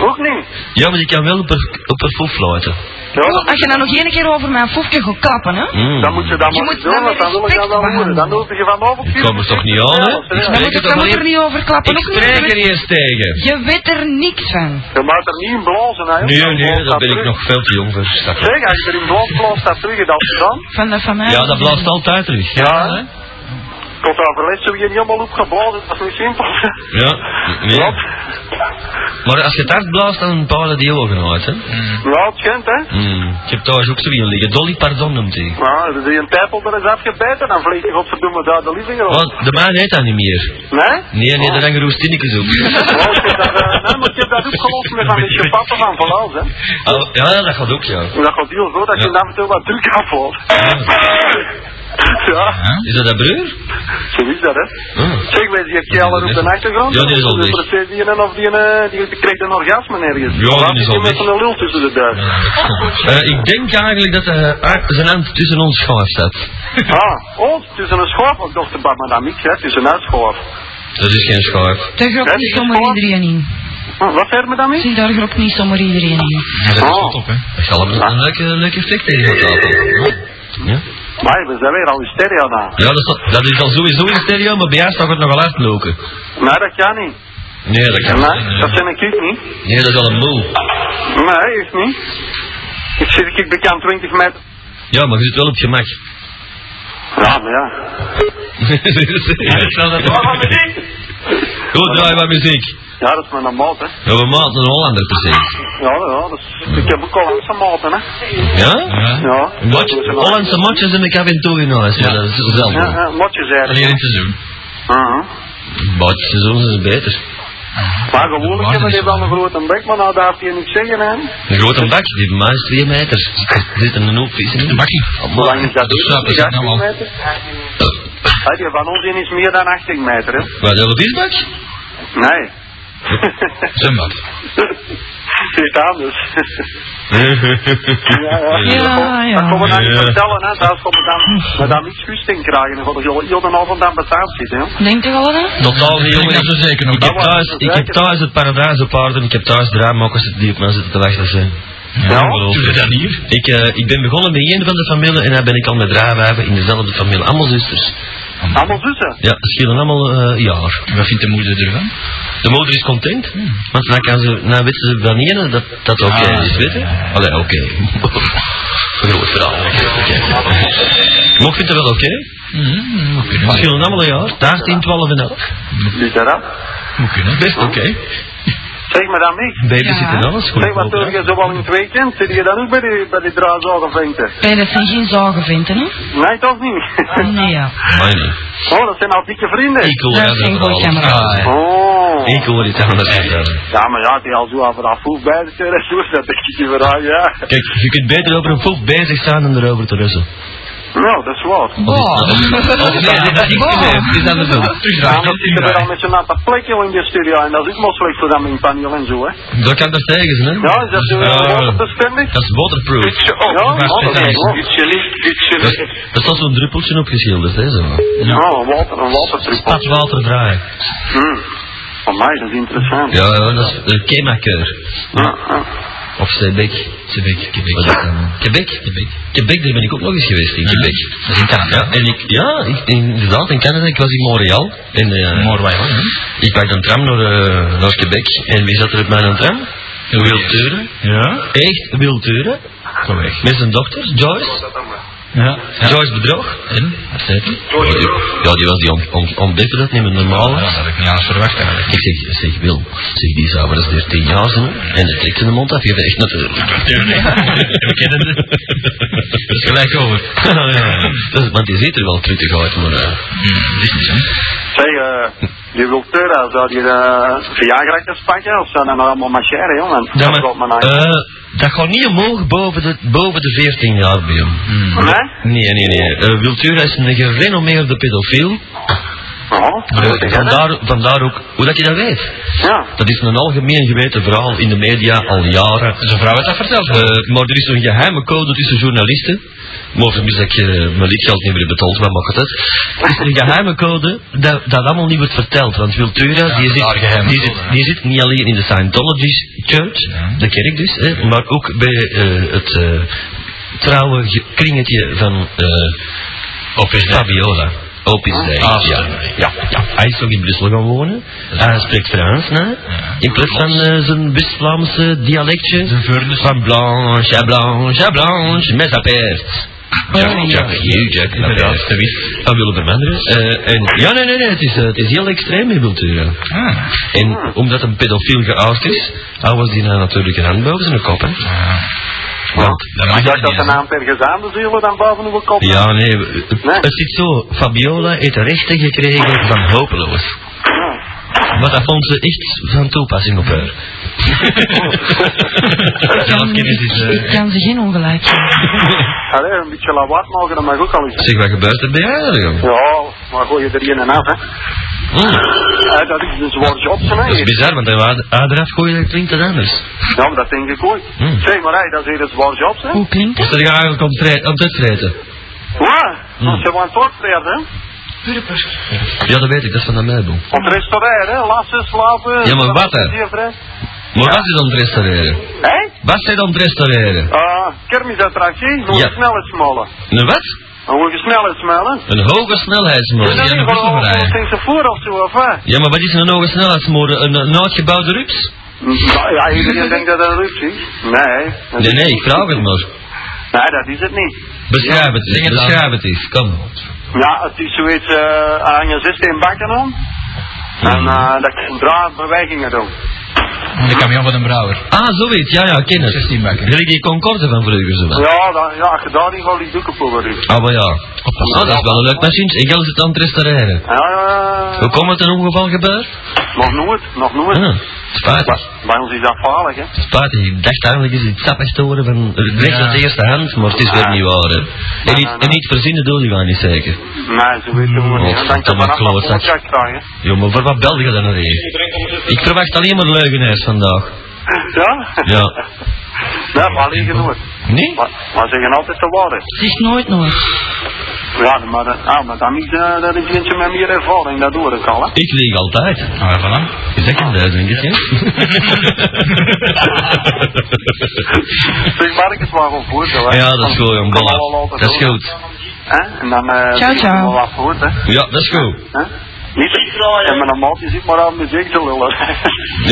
G: Ook niet.
A: Ja, maar je kan wel op een, op een foef fluiten.
G: Ja,
D: Nou, Als je dan nog één keer over mijn foefje gaat klappen, hè?
A: Mm.
G: dan moet je dat
D: Je
G: maar
D: moet
G: niet doen,
D: dan
G: want dan wil ik dat
D: respect
G: wel horen. Dan
D: behandelen.
G: doe je vanavond...
A: Ik kom er toch niet aan, hè? Ik
D: Dan moet,
A: spreek
D: ik,
A: er
D: dan
A: toch
D: moet je er
A: niet...
D: niet over klappen.
A: Ik
D: ook niet.
A: spreek er niet eens tegen.
D: Je weet er niks van.
G: Je moet er niet in blazen, hè?
A: Nee,
G: Dan
A: nee,
G: blaast
A: daar ben ik
G: terug.
A: nog veel te jong voor. Stak op.
G: Zeg, als je er in blaast, blaast dat terug, dat is dan.
D: Van, de, van mij.
A: Ja, dat blaast altijd terug.
G: Ja, hè? Tot overleed zo je niet allemaal opgeblazen, dat is niet simpel.
A: Ja, nee.
G: Wat?
A: Maar als je het hard blaast, dan bepalen die ogen uit, hè?
G: Nou, het schijnt, hè?
A: Mm.
B: Hmm.
A: Ik heb thuis ook zo iemand liggen. Dolly Pardon noemt hij.
G: Nou, als je een tijpel er is afgebeten, dan vlieg je godverdomme daar de living rond.
A: Oh, de maan heet dat niet meer.
G: Nee?
A: Nee, nee, dat hangen roestinnetjes op.
G: Nou, ik heb dat, eh, nee, maar ik heb dat opgelost met van die pappen van Van Aals, hè.
A: Oh, ja, dat gaat ook, ja.
G: En dat gaat heel goed dat je
A: Ja.
G: af en toe wat druk afvalt. Ja,
A: Is dat dat broer?
G: zo is dat, hè.
A: Oh.
G: Zeg, wees je keller op de achtergrond?
A: Ja, die is al
G: Dus
A: dicht.
G: precies die ene of die ene, die krijgt een orgasme ergens.
A: Ja, die is al
G: Die met
A: dicht.
G: een lul tussen de duim.
A: Eh, ik denk eigenlijk dat eh, ah, zijn hand tussen ons schaaf staat.
G: Ah, oh, het is een schoof. Ik dacht, maar dat mik, hè. Het is een uitschoof.
A: Dat is geen schaaf.
D: Daar gropt niet zomaar iedereen in.
G: Hm, Wat zei je met dat mik?
D: Zie, daar gropt niet zomaar iedereen in.
B: Ja, dat is
G: Oh.
B: goed op, hè.
A: Dat zal een, een leuke, leuke effect tegen elkaar hebben. Ja?
G: Maar we zijn weer al in stereo na.
A: Ja, dat is, al- dat is al sowieso in stereo, maar bij jou staat het nogal uitloken.
G: Maar dat kan niet.
A: Nee, dat kan niet.
G: Nee, dat zijn ik niet.
A: Nee, dat is al een moe.
G: Nee, echt niet. Ik zit ik bekend 20 meter.
A: Ja, maar je zit wel op je gemak.
G: Ja, maar ja.
A: Goed, draai maar muziek.
G: Ja, dat is mijn maat, hè.
A: Ja, we maat een Hollander precies.
G: Ja, ja, dat is... Ik heb ook Hollandse maten, hè.
A: Ja?
G: Ja.
A: Mot, Hollandse motjes in elkaar in toe in huis, ja, dat is
G: Ja,
A: gezellig.
G: ja, motjes
B: Alleen in
G: eigenlijk.
B: het seizoen.
G: Mhm.
A: Botjes seizoen is beter.
G: Maar gewoonlijk hebben die wel een grote bek, maar nou daar je niks zeggen, hè.
A: Een grote bak, die bij mij is 2 meter. Er zit een hoop vis in. Een bakje?
G: Hoe lang is dat?
B: Dat snap ik nou al.
G: 18 meter? Hé, die van ons in is meer dan 18 meter, hè.
A: Wat, dat is bak?
G: Nee.
B: Zijn bak.
G: Zit anders. Ja,
D: Ja, ja.
G: Dat gaan we nou niet
A: Ja.
G: vertellen, hè. Daar gaan we dan, maar dan niks goesting krijgen. Dan gaan we heel- heel de avond aan betaald zitten, hè.
D: Denk je wel hè?
A: Totaal niet, jongen.
B: Dat is zeker nog.
A: Ik heb, thuis, ik heb thuis het paradijzenpaard en ik heb thuis draaimakkers die op mij zitten te wachten. zijn.
B: Ja, doe je dat hier?
A: Ik, eh, ik ben begonnen bij één van de familie en dan ben ik al met draaiwijven in dezelfde familie. Allemaal zusters.
G: Allemaal zussen.
A: Ja, ze schelen allemaal eh, een jaar.
B: Wat vindt de moeder ervan?
A: De moeder is content, want dan, kan ze, dan weten ze van één dat dat oké
B: Ah,
A: is, weet je? Allee, oké. Groot verhaal. Maar ik vind het wel oké.
B: Mm, moet
A: Ze
B: kunnen.
A: schelen allemaal een jaar. Daar 10, 12 en elf.
G: Dus dat, hè.
B: Moet kunnen.
A: Best oké.
G: Zeg maar dan niet.
A: Baby
D: Ja.
A: zit en alles. Goed.
G: Zeg, wat doe je zoal in het weekend? Zit je dan ook bij die, bij die draaizagen vinken?
D: Nee, dat zijn geen zagen vinten, hè?
G: Nee, toch niet?
D: Nee, ja.
A: Maar nee.
G: oh, dat zijn al dikke vrienden.
A: Ik hoor
D: Dat
A: dat
D: is geen
A: verhaal.
D: goeie camera.
A: Ah, ja.
G: Oh.
A: Ik hoor dit anders vertellen.
G: Ja, maar ja, die al zo aan vanaf vroeg bij de terras doet, dat denk ik je vooral, ja.
A: Kijk, je kunt beter over een voet bezig staan dan erover te russen.
G: Nou, dat is waar.
D: Wow.
B: is aan de bel.
G: Ja,
B: Terugdraaien,
G: maar zitten we dan met zo'n aantal plekken in de studio en dat is ook maar slecht voor dan in paneel en zo, hè.
A: Dat kan dat tegen zijn, hè?
G: Ja, is dat zo
A: Ja.
G: uh, bestendig?
A: Dat is waterproof.
C: Kutje op.
G: Ja, oh, dat is waar.
C: Kutje licht, kutje
A: Dat,
C: licht.
A: dat staat zo'n druppeltje opgeschilderd, hè? Zo.
G: Ja, een water, een watertruc.
A: Spatwater draaien.
G: Hm. Van mij, dat is interessant.
A: Ja, ja, dat is de Kemakeur.
G: Ja, ja.
A: Of Quebec. Quebec, Quebec. Wat is dat dan? Quebec? Quebec. Quebec, daar ben ik ook nog eens geweest in Quebec. Dat is in Canada. Ja, en ik, ja ik, inderdaad, in Canada. Ik was in Montreal. En, eh Ik pakte een tram naar, eh, naar Quebec. En wie zat er op mijn tram? Wil Teuren.
B: Ja?
A: Echt Wil Teuren.
B: Correct.
A: Met zijn dochter, Joyce.
B: Ja.
A: Joyce Bedrog. En? Wat zei hij? Ja, die, ja, die was die ont, ont, ontdekte dat niet meer normaal. was.
B: Ja, dat had ik niet anders verwacht eigenlijk.
A: Ik zeg, zeg Wil, zeg die zou wel eens 13 jaar zijn en het trekt in de mond af. Je weet echt natuurlijk.
B: We kennen het. Dat is gelijk over.
A: ja, dat is, want die ziet er wel truttig uit, maar eh,
B: Mm, dit is hem.
G: Zeg, eh, die Wiltura, zou die uh, Viagra-kens pakken? Of zou dat nou allemaal machère, jongen?
A: Ja,
G: Dat
A: maar,
G: loopt me nou.
A: eh, dat gaat niet omhoog boven de, boven de 14 jaar bij hem.
G: Nee?
A: Nee, nee, nee. Eh Wiltura is een gerenommeerde pedofiel.
G: Oh,
A: Eh,
G: dat is het,
A: vandaar, vandaar ook, hoe dat je dat weet.
G: hè? Ja.
A: Dat is een algemeen geweten verhaal in de media al jaren.
B: Zijn vrouw heeft dat verteld.
A: Eh, maar er is een geheime code tussen journalisten. Maar vermis dat ik eh, mijn lidgeld niet meer betaald, maar maakt het uit. Er is een geheime code dat, dat allemaal niet wordt verteld. Want Wiltura, die,
B: daar
A: zit,
B: geheime
A: die,
B: code,
A: zit,
B: hè.
A: die zit niet alleen in de Scientology Church, de kerk dus, hè, maar ook bij eh, het eh, trouwe ge- kringetje van eh Opus Fabiola. Opus Dei,
B: Ah,
A: ja. Ja, ja. Hij is nog in Brussel gaan wonen. Hij spreekt Frans, hè? In plaats van eh, zijn West-Vlaamse dialectje.
B: De Vurnes.
A: Van blanche à blanche à blanche, met la peste. Ja, Jack, you, Jack, la
B: Inderdaad,
A: peste. Van Willem Vermanderen. Eh, en, ja, nee, nee, nee, het is, eh, het is heel extreem in cultuur.
B: Ah.
A: En omdat een pedofiel geout is, hij was die nou natuurlijk een hand boven zijn kop, hè. Want,
B: Dat mag
G: Ik dacht dat
B: niet,
G: de
B: hè.
G: naam per gezamenlijk zullen dan boven uw kop.
A: ja, nee, we-
G: Nee.
A: het zit zo. Fabiola heeft rechten gekregen van hopeloos. Maar dat vond ze echt van toepassing op haar.
D: Ik kan,
A: dus, eh,
D: ik kan ze geen ongelijk geven.
G: Allee, een beetje lawaai maken, dat mag ook al eens.
A: Zeg, wat gebeurt er bij jou, jongen?
G: Ja, maar gooi je er een en af, hè.
A: Hm.
G: Eh, dat is een zwaar job, hè.
A: Oh, Dat is bizar, want hij wou eraf gooien, dat klinkt het anders.
G: Ja, maar dat denk ik ook.
A: Hm.
G: Zeg maar, hé, dat is hier een zwaar job, hè.
D: Hoe klinkt
A: Moest
D: dat?
A: er eigenlijk om, tre- om te treden?
G: Ja, als je want voortvreden, hè.
A: Ja, dat weet ik, dat is van de meubel.
G: Om te restaureren, hè. Lassen, slapen.
A: Ja, maar wat, hè?
G: hè?
A: Maar wat is het om te restaureren?
G: Hé?
A: Wat is het om te restaureren?
G: Eh, Ah, kermisattractie, nog
A: Ja.
G: snel eens smallen.
A: Een wat?
G: Een hoge snelheidsmijl, hè?
A: Een hoge snelheidsmolen.
G: Is dat
B: ja,
G: niet
B: dat
G: gewoon
B: is
G: een
B: een rij.
G: tegen zijn voor of zo, of wat?
A: Ja, maar wat is een hoge snelheidsmolen? Een, een uitgebouwde rups?
G: Nou, Ja, iedereen denkt dat dat een rups is. Nee. dat
A: Nee,
G: is-
A: nee, ik vraag het maar.
G: Nee, dat is het niet.
A: Beschrijf het eens, beschrijf het eens, kom.
G: Ja, het is zoiets, eh aan je systeem bakken om. En eh, dat kan draadbewegingen doen.
B: De camion van een brouwer.
A: Ah, zoiets, ja, ja, kennis.
B: 16 bakken.
A: Gelijk die Concorde van vroeger, zo wel.
G: Ja, dat, ja, als je daar niet wel die doeken voor wordt.
A: Ah, maar ja. Ah, dat is wel een leuk machine. Ik ga het aan het restaureren.
G: Ja, ja, ja.
A: Hoe komt het een ongeval gebeurd?
G: Nog nooit, nog nooit.
A: Ah, spijtig.
G: Bij- Bij ons is dat gevaarlijk, hè.
A: Spijtig, ik dacht eigenlijk is het sappig te worden van recht uit de eerste hand, maar het is weer niet waar. hè. En niet, en niet verzinnen doe je wel niet zeker.
G: Nee, zo weet je gewoon niet. hè. Dan kan
A: verdomme
G: je vanaf een
A: klootzak.
G: contract krijgen.
A: Jo, maar voor wat België dan nog eens? Ik verwacht alleen maar leugenaars vandaag.
G: Ja?
A: Ja.
G: Nee, maar alleen genoeg.
A: Nee?
G: Maar, maar ze zeggen altijd de waarheid.
D: Zeg nooit nooit.
G: Ja, maar dat, ah, maar dat, is, eh, dat is eentje met meer ervaring, dat doe ik al, hè.
A: Ik lieg altijd.
B: Nou, even aan.
A: Is dat geen duizend, hè?
G: Zeg maar, ik is maar gewoon voor, zo, hè.
A: Ja, dat is goed, jong.
G: Kan
A: Voilà.
G: allemaal altijd
A: Dat is
G: doen.
A: goed.
G: Hè? En dan... eh,
D: Ciao,
G: zeg
D: ciao.
G: maar wat voor, hè.
A: Ja, dat is goed.
G: Hè? Niet en mijn maat die zit maar aan muziek te lullen.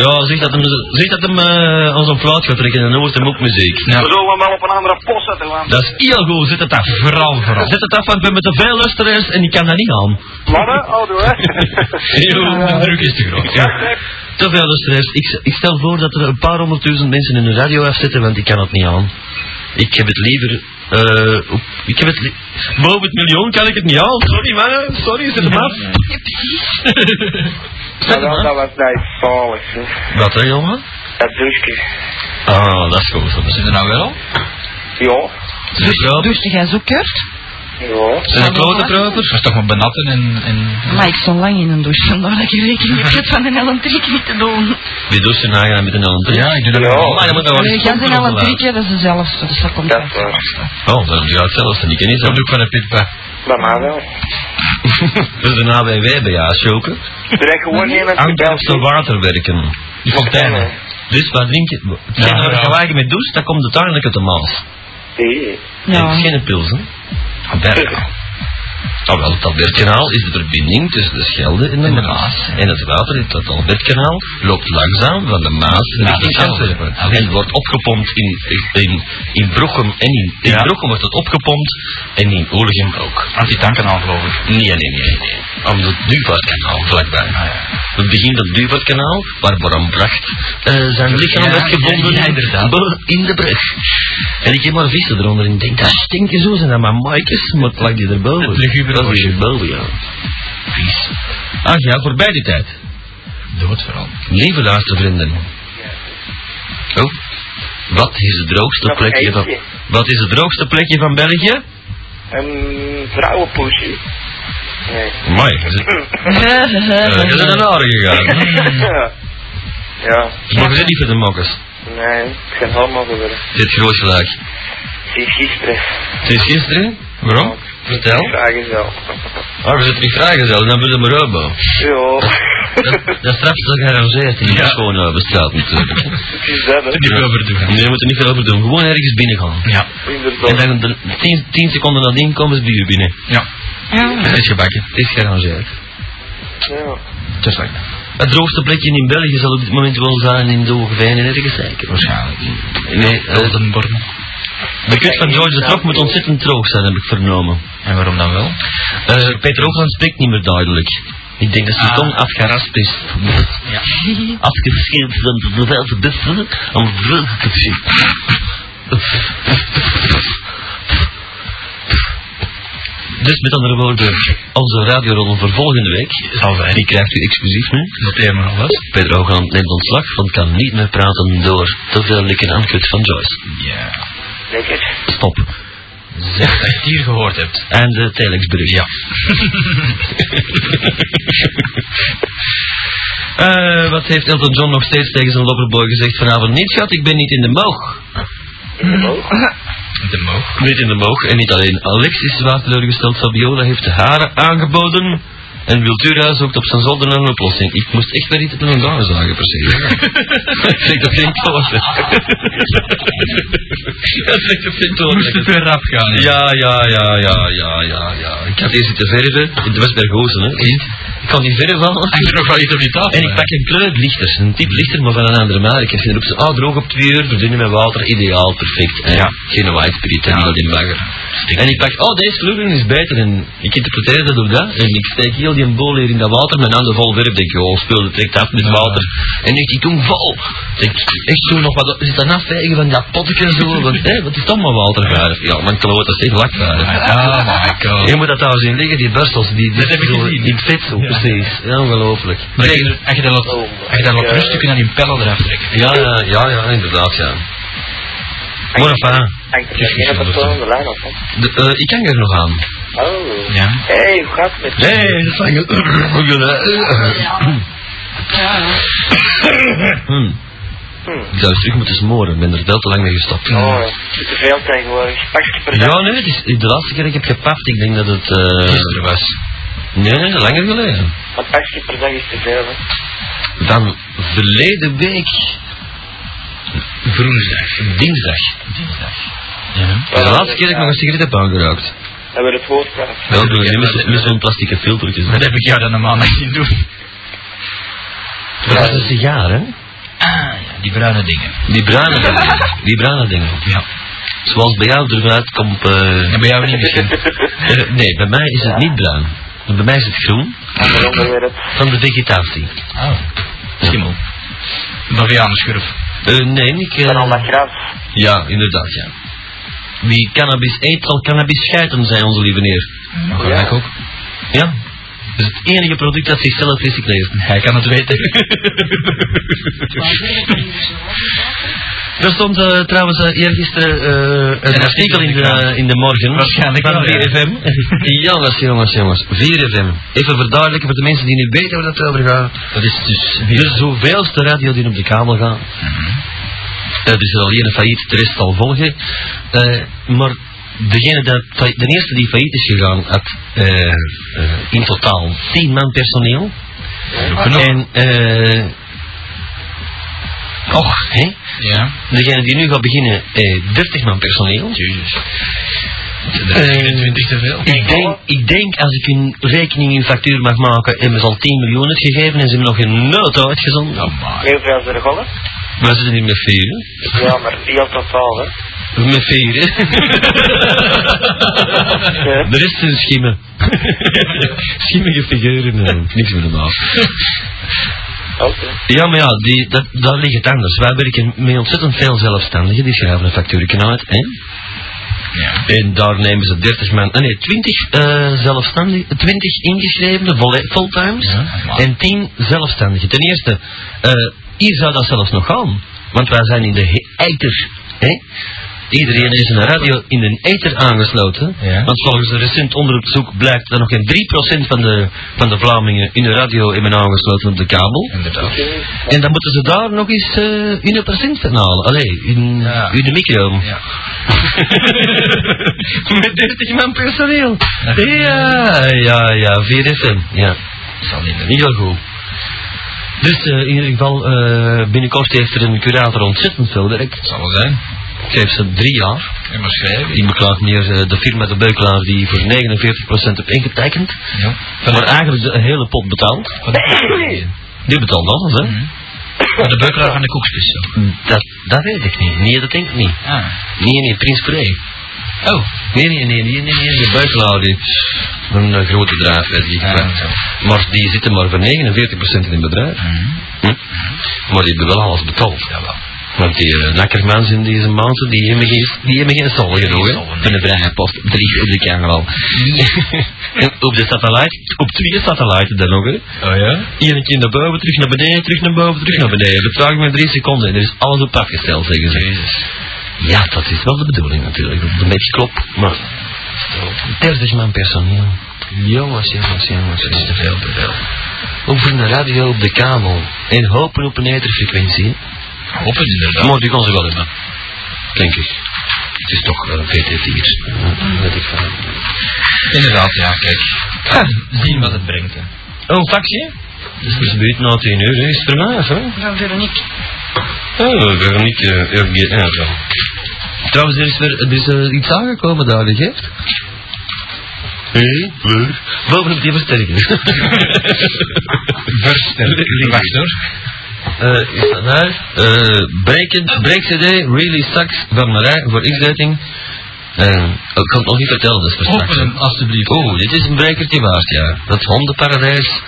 A: Ja, zeg dat hem, zeg dat hem eh, ons een fluit gaat trekken en dan wordt hem ook muziek.
G: We zullen hem wel op een andere post zetten, want...
A: Dat is heel goed, zet het af.
B: Vooral, vooral.
A: Zet het af, want ik ben met te veel luisteraars en ik kan dat niet aan.
G: Mannen, houdoe, hè.
A: de druk is te groot. Te veel luisteraars. Ik, ik stel voor dat er een paar honderdduizend mensen in de radio afzetten, want ik kan het niet aan. Ik heb het liever... eh, op- ik heb het... li- Boven het miljoen kan ik het niet aan. Sorry, mannen. Sorry, zet hem af.
C: Dat, dat was nice, hè.
A: Wat, hè, jongen?
C: Dat douche.
A: Ah, dat is goed. dat is-
B: Zit er nou wel?
C: Ja.
A: Ze kruipen.
D: Douchte jij zo kort?
C: Ja.
A: Ze zijn klote kruipers.
B: Dat is toch maar benatten en... en
D: Maar ik stond lang in een douche, vandaar dat ik rekening heb gehad van een LM3 niet te doen.
A: Wie doet zijn nagaan met een andere?
B: ja, ik doe dat
C: Ja.
B: wel.
A: Maar dan moet wel
D: Allee, Eh, jij bent LM3, dat is dezelfde, dus dat komt
C: Dat
D: uit.
C: is
G: eh,
C: waar.
A: Oh, dat gaat zelfs niet in.
B: Dat doe ik van de pitpa.
C: Dat mag wel.
A: Dat is een AWW Dus bij jou, Sjoke.
C: Er is gewoon niemand
A: Hangt op zijn
C: gebeld.
A: water werken. Die fonteinen. Dus wat drink je? Geen
B: Ja,
A: ja,
B: ja.
A: gelijk met douche, dan komt het eigenlijk uit de maas.
C: Nee.
A: En het is
D: Ja.
A: geen pils, hè? Ah, Bergkanaal. Ah, wel, het Albertkanaal is de verbinding tussen de Schelde en de Maas. En het water in het Albertkanaal loopt langzaam van de Maas richting
B: dat is
A: Antwerpen.
B: wel.
A: En wordt opgepompt in, in, in Brochem. En in, in
B: Ja. Ah,
A: Brochem wordt het opgepompt en in Olegem ook.
B: Als die tanken al, geloof ik.
A: Nee, nee, nee, nee. Aan het Duvaartkanaal, vlakbij.
B: Ah,
A: Het begin van het Duvaartkanaal, waar Bram Bracht eh, zijn lichaam
B: Ja,
A: werd gevonden
B: ja, ja, inderdaad.
A: bo- in de brug. En ik heb maar vissen eronder en ik denk, dat stinken zo, zijn dat maar maaikjes, maar het lag die erboven.
B: Het lugubere
A: Dat is
B: bosje.
A: erboven, ja. Vies. Ach ja, voorbij die tijd.
B: Dood vooral.
A: Lieve luistervrienden. Oh, wat is het droogste
C: Nog
A: plekje van...
C: eentje.
A: Wat is het droogste plekje van België?
C: Een vrouwenpoesje. Nee.
A: Mooi. Je zit- eh, je zit naar de gegaan.
C: ja.
A: Maar je zit niet voor de mokkers.
C: Nee. Ik ben helemaal geworden.
A: Dit groot gelijk.
C: Sinds gisteren.
A: Sinds gisteren? Waarom? Vertel.
C: Vraag is wel.
A: Ah, we zitten niet vrijgezel, dan willen we Robo.
C: Ja.
A: Dat is straks toch gearrangeerd in de schone bestraat eh, natuurlijk.
C: Het is dat, hè.
B: Niet veel verdoen.
A: Nee, we moeten niet veel over doen. Gewoon ergens binnen gaan.
B: Ja.
A: En
C: Inderdaad.
A: dan de tien, tien seconden nadien komen ze bij u binnen.
B: Ja.
D: Ja.
A: Het is gebakken. Het is gearrangeerd.
C: Ja.
B: Te slecht.
A: Het droogste plekje in België zal op dit moment wel zijn in Doogveen en ergens zeker.
B: Waarschijnlijk.
A: Nee, eh,
B: Oldenborn.
A: de kut van George de Trok moet ontzettend droog zijn, heb ik vernomen.
B: En waarom dan wel?
A: Eh, Peter Hoogland spreekt niet meer duidelijk. Ik denk dat zijn
B: Ah.
A: tong afgeraspt is.
B: Ja.
A: Afgeschermd van de vervelte bussen om het vlug te zien. Dus met andere woorden, onze radiorol voor volgende week zal zijn. Die krijgt u exclusief nu. Oh,
B: Noteer maar alvast.
A: Peter Hoogland neemt ontslag, want kan niet meer praten door te veel likken aan kut van Joyce.
B: Ja.
C: Lekker.
A: Stop.
B: Zeg dat je het hier gehoord hebt.
A: En de telexbrug. Ja. Eh, wat heeft Elton John nog steeds tegen zijn lopperboy gezegd vanavond? Niet schat, ik ben niet in de moog.
B: De moog.
A: Niet in de moog. En niet alleen Alex is zwaar teleurgesteld. Fabiola heeft de haren aangeboden. En Wiltura zoekt op zijn zolder naar een oplossing. Ik moest echt naar iets op een dame zagen, per se. Ik zeg dat geen toon. Dat zegt dat geen toon.
B: Moest het weer rap gaan. hè?
A: Ja, ja, ja, ja, ja, ja, ja. Ik had hier zitten verven. Het was bij Gozen, hè. Ik kan niet verven vallen.
B: Hangt er nog wel iets op die tafel?
A: En ik pak een kleurlichter, een type lichter, maar van een andere merk. Ik heb erop zo, ah, droog op twee uur, verdienen met water, ideaal, perfect. En Geen white spirit en al die bagger. En ik pak, oh, deze kleur is beter. En ik interpreteer dat op dat. En ik steek heel die bol hier in dat water, mijn handen vol werp. Denk, oh, spul, dat trekt af met water. En nu is die toen vol. Ik Denk, echt toen nog wat, is dat afvegen van dat potje zo? Want, hé, wat is dat maar watervaardig? Ja, mijn kloot, dat is echt lakvaardig.
B: Oh my god.
A: Je moet dat trouwens in liggen, die burstels, die, die
B: Dat heb ik
A: zo
B: gezien.
A: in het vet zo,
B: Ja.
A: precies. Ja, ongelooflijk.
B: Maar als je er- als je daar wat- als je daar wat rust, kun je dan die pellen eraf trekken.
A: Ja, ja, ja, ja, inderdaad, ja. Maar enfin,
C: Hangt er geen persoon aan de lijn of wat?
A: de, eh, ik hang er nog aan.
C: Oh.
B: Ja.
C: Hé, hey, hoe gaat het met
A: Nee, dat zijn eh, Hmm. Ik zou eens terug moeten smoren, ik ben er veel te lang mee gestopt.
C: Oh, het is te veel tegenwoordig. Pakje per dag.
A: Ja, nee, het is de laatste keer dat ik heb gepaft, ik denk dat het... eh
B: Gisteren was.
A: Nee, nee, langer geleden.
C: Want pakje per dag is te veel, hè.
A: Dan verleden week... Woensdag. Dinsdag. Oh.
B: Ja.
A: Dat is de laatste keer dat ik nog een sigaret heb aangerookt.
C: Dan wordt het woord kwijt.
A: Wel, doe je niet met zo'n plastieke filtertjes.
B: Dat heb ik jou dan normaal niet zien doen.
A: Dat is een sigaar, hè?
B: Ah, ja, die bruine dingen.
A: Die bruine dingen. Die bruine dingen.
B: Ja.
A: Zoals bij jou eruit komt... eh,
B: En bij jou niet misschien.
A: eh, nee, bij mij is het niet bruin. Bij mij is het groen.
C: En dan weer het.
A: Van de vegetatie.
B: Oh. Schimmel. Bavianenschurf.
A: Eh, nee, ik... eh,
C: En al dat gras.
A: ja, inderdaad, ja. Wie cannabis eet, zal cannabis scheiden, zei onze lieve neer.
B: Dat kan ik ook.
A: Ja. Dat is het enige product dat zichzelf recycleert.
B: Hij kan het weten.
A: Er stond eh, trouwens eh, eergisteren eh, een
B: Een
A: artikel in de, in de morgen.
B: Waarschijnlijk
A: van
B: wel, ja.
A: 4FM. jongens, jongens, jongens. 4FM. Even verduidelijken voor de mensen die niet weten waar dat over gaat.
B: Dat is dus
A: De zoveelste radio die op de kabel gaat. Dat is er al één failliet, de rest zal volgen. Eh, maar degene dat, fa- de eerste die failliet is gegaan had eh, eh, in totaal 10 man personeel. En, eh. och, hè?
B: Ja.
A: Degene die nu gaat beginnen, eh, 30 man personeel. Eh,
B: te veel.
A: ik denk, ik denk, als ik een rekening in factuur mag maken, hebben ze al 10 miljoen uitgegeven en ze hebben nog geen nood uitgezonden.
C: Nee, hoeveel zijn er golf?
A: Maar ze zijn niet met vier, hè?
C: Ja, maar heel totaal, hè.
A: Met vier, hè?
C: Ja.
A: De rest zijn schimmen. Schimmige figuren, nee, niks meer normaal.
C: Oké.
A: Ja, maar ja, die, dat, daar ligt het anders. Wij werken met ontzettend veel zelfstandigen, die schrijven een factuurtje uit, hè?
B: Ja.
A: En daar nemen ze 30 man, eh, nee, 20 eh zelfstandigen, 20 ingeschrevenen, volle- fulltimes,
B: Ja, maar-
A: en 10 zelfstandigen. Ten eerste, eh, hier zou dat zelfs nog gaan, want wij zijn in de he- eiter, hè? Iedereen is een radio in de eiter aangesloten,
B: Ja.
A: want volgens een recent onderzoek blijkt dat nog geen 3% van de, van de Vlamingen in de radio hebben aangesloten op de kabel.
B: Inderdaad.
A: En dan moeten ze daar nog eens eh hun percent van halen. Allee, hun,
B: Ja.
A: hun micro.
B: Ja.
A: Met 30 man personeel. Ja, ja, ja, 4FM. Ja,
B: Zal niet meer.
A: heel goed. Dus eh, in ieder geval, eh, binnenkort heeft er een curator ontzettend veel werk.
B: Zal wel zijn.
A: Ik geef ze drie jaar.
B: En maar schrijven.
A: Ik beklaag meer eh, de firma De Beukelaar die voor 49% heeft ingetekend.
B: Ja.
A: Maar eigenlijk de hele pot betaalt.
B: Van de, Mhm.
A: Die betaalt alles, hè? Mm,
B: van de beukelaar van de koekspis. zo.
A: Dat, dat weet ik niet. Nee, dat denk ik niet.
B: Ah.
A: Nee, nee, Prins Frey.
B: Oh.
A: Nee, nee, nee, nee, nee, nee, de buitenlaar die een eh, grote draaf werd die
B: Ja,
A: gepakt. Maar die zitten maar voor 49% in het bedrijf.
B: Mhm.
A: Hm? Maar die hebben wel alles betaald. Want die uh, nakkermans in deze maanden, die hebben geen, die hebben geen zollen genoeg, hè.
B: zollen, nee.
A: Van de vrije post, op drie, op de camera. en op de satelliet, op twee satellieten dan nog, hè.
B: Oh ja?
A: Eén keer naar boven, terug naar beneden, terug naar boven, terug naar beneden. Betraag maar drie seconden en er is alles op afgesteld, zeggen ze. Ja, dat is wel de bedoeling natuurlijk. Dat het Een beetje klopt, maar... 30 man personeel. Jongens, jongens, jongens. Dat is te veel, te veel. Ook voor een radio op de kabel. En hopen op een etherfrequentie.
B: Op het inderdaad.
A: Maar die kan ze wel hebben. Denk ik. Het is toch eh, VT4. eh, weet ik van.
B: Inderdaad, ja, kijk. zien wat het brengt. Hè.
A: Oh, een taxi? Dus is buiten na 10 uur, hè. is het erna, of hè?
D: Van Veronique.
A: Oh, Veronique, eh, RG, ja, zo. Trouwens, er is, weer, er is eh, iets aangekomen daar, weet je? Hé, leuk. Bovenop die versterker.
B: Versterkt. Wacht hoor.
A: Eh, is dat nou? Eh, Breekend, Breek-CD, Really Sucks, van Marij, voor inzetting. Eh, ik kan het nog niet vertellen, dat is voor straks.
B: Open hem alstublieft.
A: Oeh, dit is een brekertje waard, ja. Dat hondenparadijs.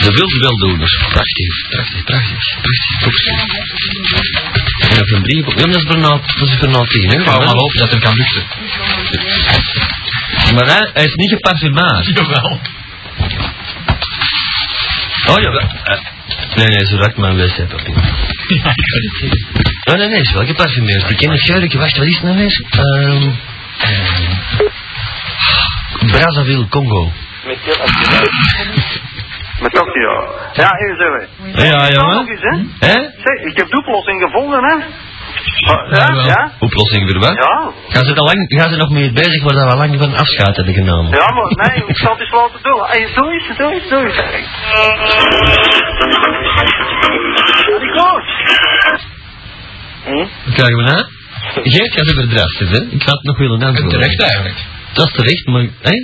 A: De wilde weldoeners. Prachtig, prachtig, prachtig. Prachtig, prachtig. En dat is een brief. Ja, maar dat is bijna, dat is bijna tien, hè.
B: Ik hou maar op dat er kan luchten.
A: Maar hij, hij is niet geparfumeerd.
B: Jawel.
A: Oh ja, wel. Eh, Nee, nee, zo raakt mijn wc-papier. Oh nee, nee, is wel geparfumeerd. Die ken ik juist. Wacht, wat is het nou weer? Ehm... ehm, Brazzaville, Congo.
G: Met Tokio. Ja, hier zijn we.
A: Ja,
G: Nog
A: jongen.
G: eens, hè?
A: Hè?
G: Zeg, ik heb de oplossing gevonden, hè? Ja,
B: Jawel.
G: ja?
A: Oplossing voor wat?
G: Ja.
A: Gaan ze, er lang, gaan ze nog mee bezig waar dat we lang van afscheid hebben genomen?
G: Ja, maar nee, ik zal het eens laten doen. Hey, doe eens, doe eens, doe eens. Nico!
A: Wat krijgen we na? Geert gaat overdraasten, hè? Ik had nog willen
B: En
A: antwoorden.
B: terecht eigenlijk.
A: Dat is terecht, maar... Hè?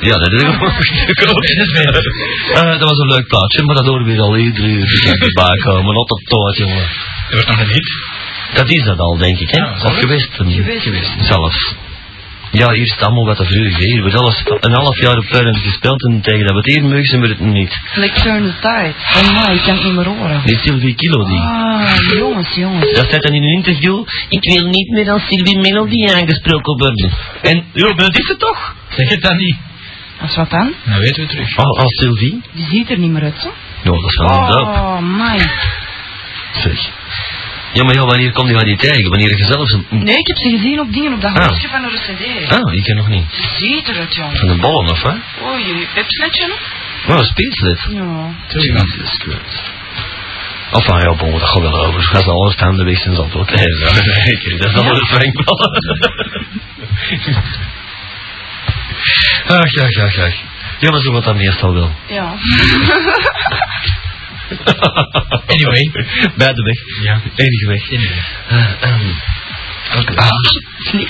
A: Ja, dat is een mooi stuk ook. Eh, dat was een leuk plaatje, maar dat horen we weer al iedere uur. Die gaat erbij komen, op dat toot, jongen.
B: Er wordt nog een hit.
A: Dat is dat al, denk ik, hè?
B: Ja,
A: of geweest. Geweest, geweest. Zelfs. Ja, hier is het allemaal wat er vroeger is. Hier wordt alles een half jaar op Tuinend gespeeld en tegen dat we het hier mogen zijn we het niet.
D: Like turn the tide. Oh my, ik kan het niet meer horen.
A: Die Sylvie Kilo, die.
D: Ah, jongens, jongens.
A: Dat staat dan in een interview. Ik wil niet meer als Sylvie Melody aangesproken worden. En, joh, dat is het toch?
B: Zeg het dan niet.
D: Als wat dan?
B: Dan weten we terug.
A: Al, al Sylvie?
D: Die ziet er niet meer uit, zo.
A: Ja, dat is wel een doop,
D: Oh my.
A: zeg. Ja, maar ja, wanneer komt die van die tegen? Wanneer je zelf een...
D: Nee, ik heb ze gezien op dingen op dat
A: Ah.
D: hoofdje van een CD.
A: Ah, ik ken nog niet.
D: Ze ziet eruit, jongen.
A: Van de ballen, of wat?
D: Oei, je pepsletje, hè?
A: Oh, een speechlid.
D: Ja.
A: Jesus Christ. Of van, ja, bon, dat gaat wel over. Ga ze alles aan de weg zijn zand wat Nee, dat is zeker. Dat is allemaal de frankballen. Ach, ach, ach, ach. Ja, maar zo wat dat meestal wel.
D: Ja.
B: Anyway.
A: Bij de weg.
B: Ja.
A: Enige weg. Eh, ehm, oké. Ah,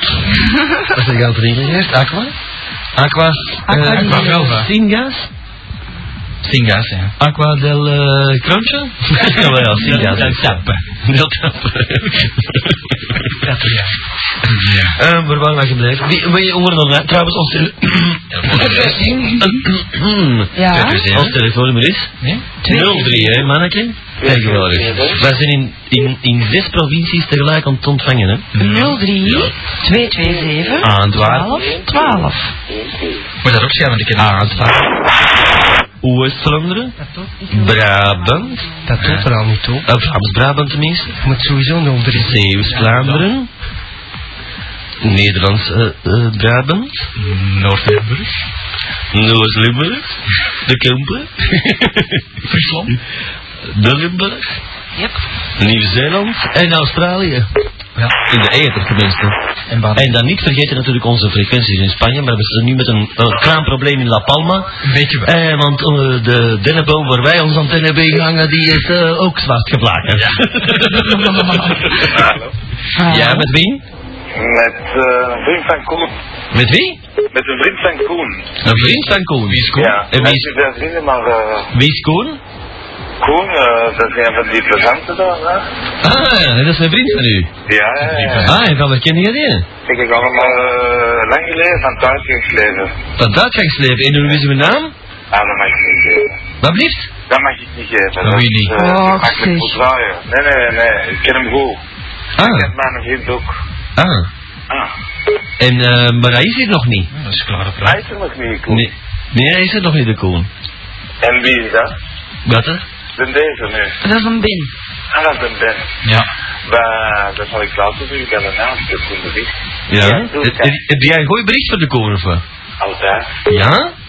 A: Wat heb ik aan het drinken geweest? Aqua? Aqua,
D: Aqua
A: eh,
D: di-
A: aqua Velva. Singas?
B: Singa's, ja.
A: Aqua del eh, Crunch? ja, wel ja, Singas.
B: Del Tappe.
A: Del Tappe.
B: Ja. Ja.
A: Eh, waar waren we gebleven? Die, wil je onder dan, trouwens, ons, tele-
D: Ja.
A: ons telefoonnummer is?
B: Nee?
A: 03, hè, manneke? Tegenwoordig. Wij dus. zijn in, in, in zes provincies tegelijk aan het ontvangen, hè?
D: 03
A: Aan
D: 227
A: Ah, het waar?
D: 12 12.
B: Moet dat opschrijven, want ik heb ah, het waar.
A: Oost-Vlaanderen, Brabant,
I: Dat doet er al niet toe.
A: eh, Vlaams-Brabant tenminste,
I: Je moet sowieso een onder is.
A: Zeeuws-Vlaanderen, eh, Nederlands-Brabant,
B: Noord-Limburg.
A: Noord-Limburg, de Kempen,
B: Friesland.
A: de Limburg, Nieuw-Zeeland en Australië.
B: Ja.
A: In de eter tenminste.
B: En Baden.
A: En dan niet vergeten natuurlijk onze frequenties in Spanje, maar we zitten nu met een eh, kraanprobleem in La Palma.
B: Een beetje wel.
A: Eh, want eh, de dennenboom waar wij ons antenne hebben hangen, die is eh, ook zwart geblakerd.
D: Ah.
A: ja, met wie?
G: Met eh, een vriend van Koen.
A: Met wie?
G: Met een vriend van Koen.
A: Een vriend van Koen. Wie is
G: Ja,
A: En wie
G: hij
A: is,
G: is zijn vrienden, maar eh,
A: wie is Koen?
G: Koen, eh, dat zijn van die plezanten daar, hè?
A: Ah, dat is een vriend van u.
G: Ja, ja, ja.
A: Ah, en van waar ken je die?
G: Ik heb allemaal eh, lang geleden van thuis geschreven.
A: Van Duitsgangsleven. En hoe is uw naam?
G: Ah, dat mag ik niet geven.
A: Wat blieft?
G: Dat mag ik niet geven.
B: Dat moet je
G: is,
B: niet.
G: eh, te
D: Och,
G: makkelijk
D: zeg.
G: voor draaien. Nee, nee, nee, ik ken hem goed. Ik
A: Ah,
G: ken mijn vriend ook.
A: ah.
G: Ah,
A: En, eh, maar hij is hier nog niet.
B: Dat is klaar op
G: hij is er nog niet, Koen.
A: Nee, nee hij is er nog niet, de Koen.
G: En wie is dat?
A: Wat hè?
G: Ben deze nu.
D: Dat is een bin.
G: Ah, dat ben Ben.
B: Ja.
G: Bah, dat zal ik later doen. Ik heb een naam, ik heb Koen de Vries.
A: Ja.
G: Ja, doe het,
A: Heb- Heb heb jij een goed bericht voor de Koen of wat?
G: Altijd.
A: Ja?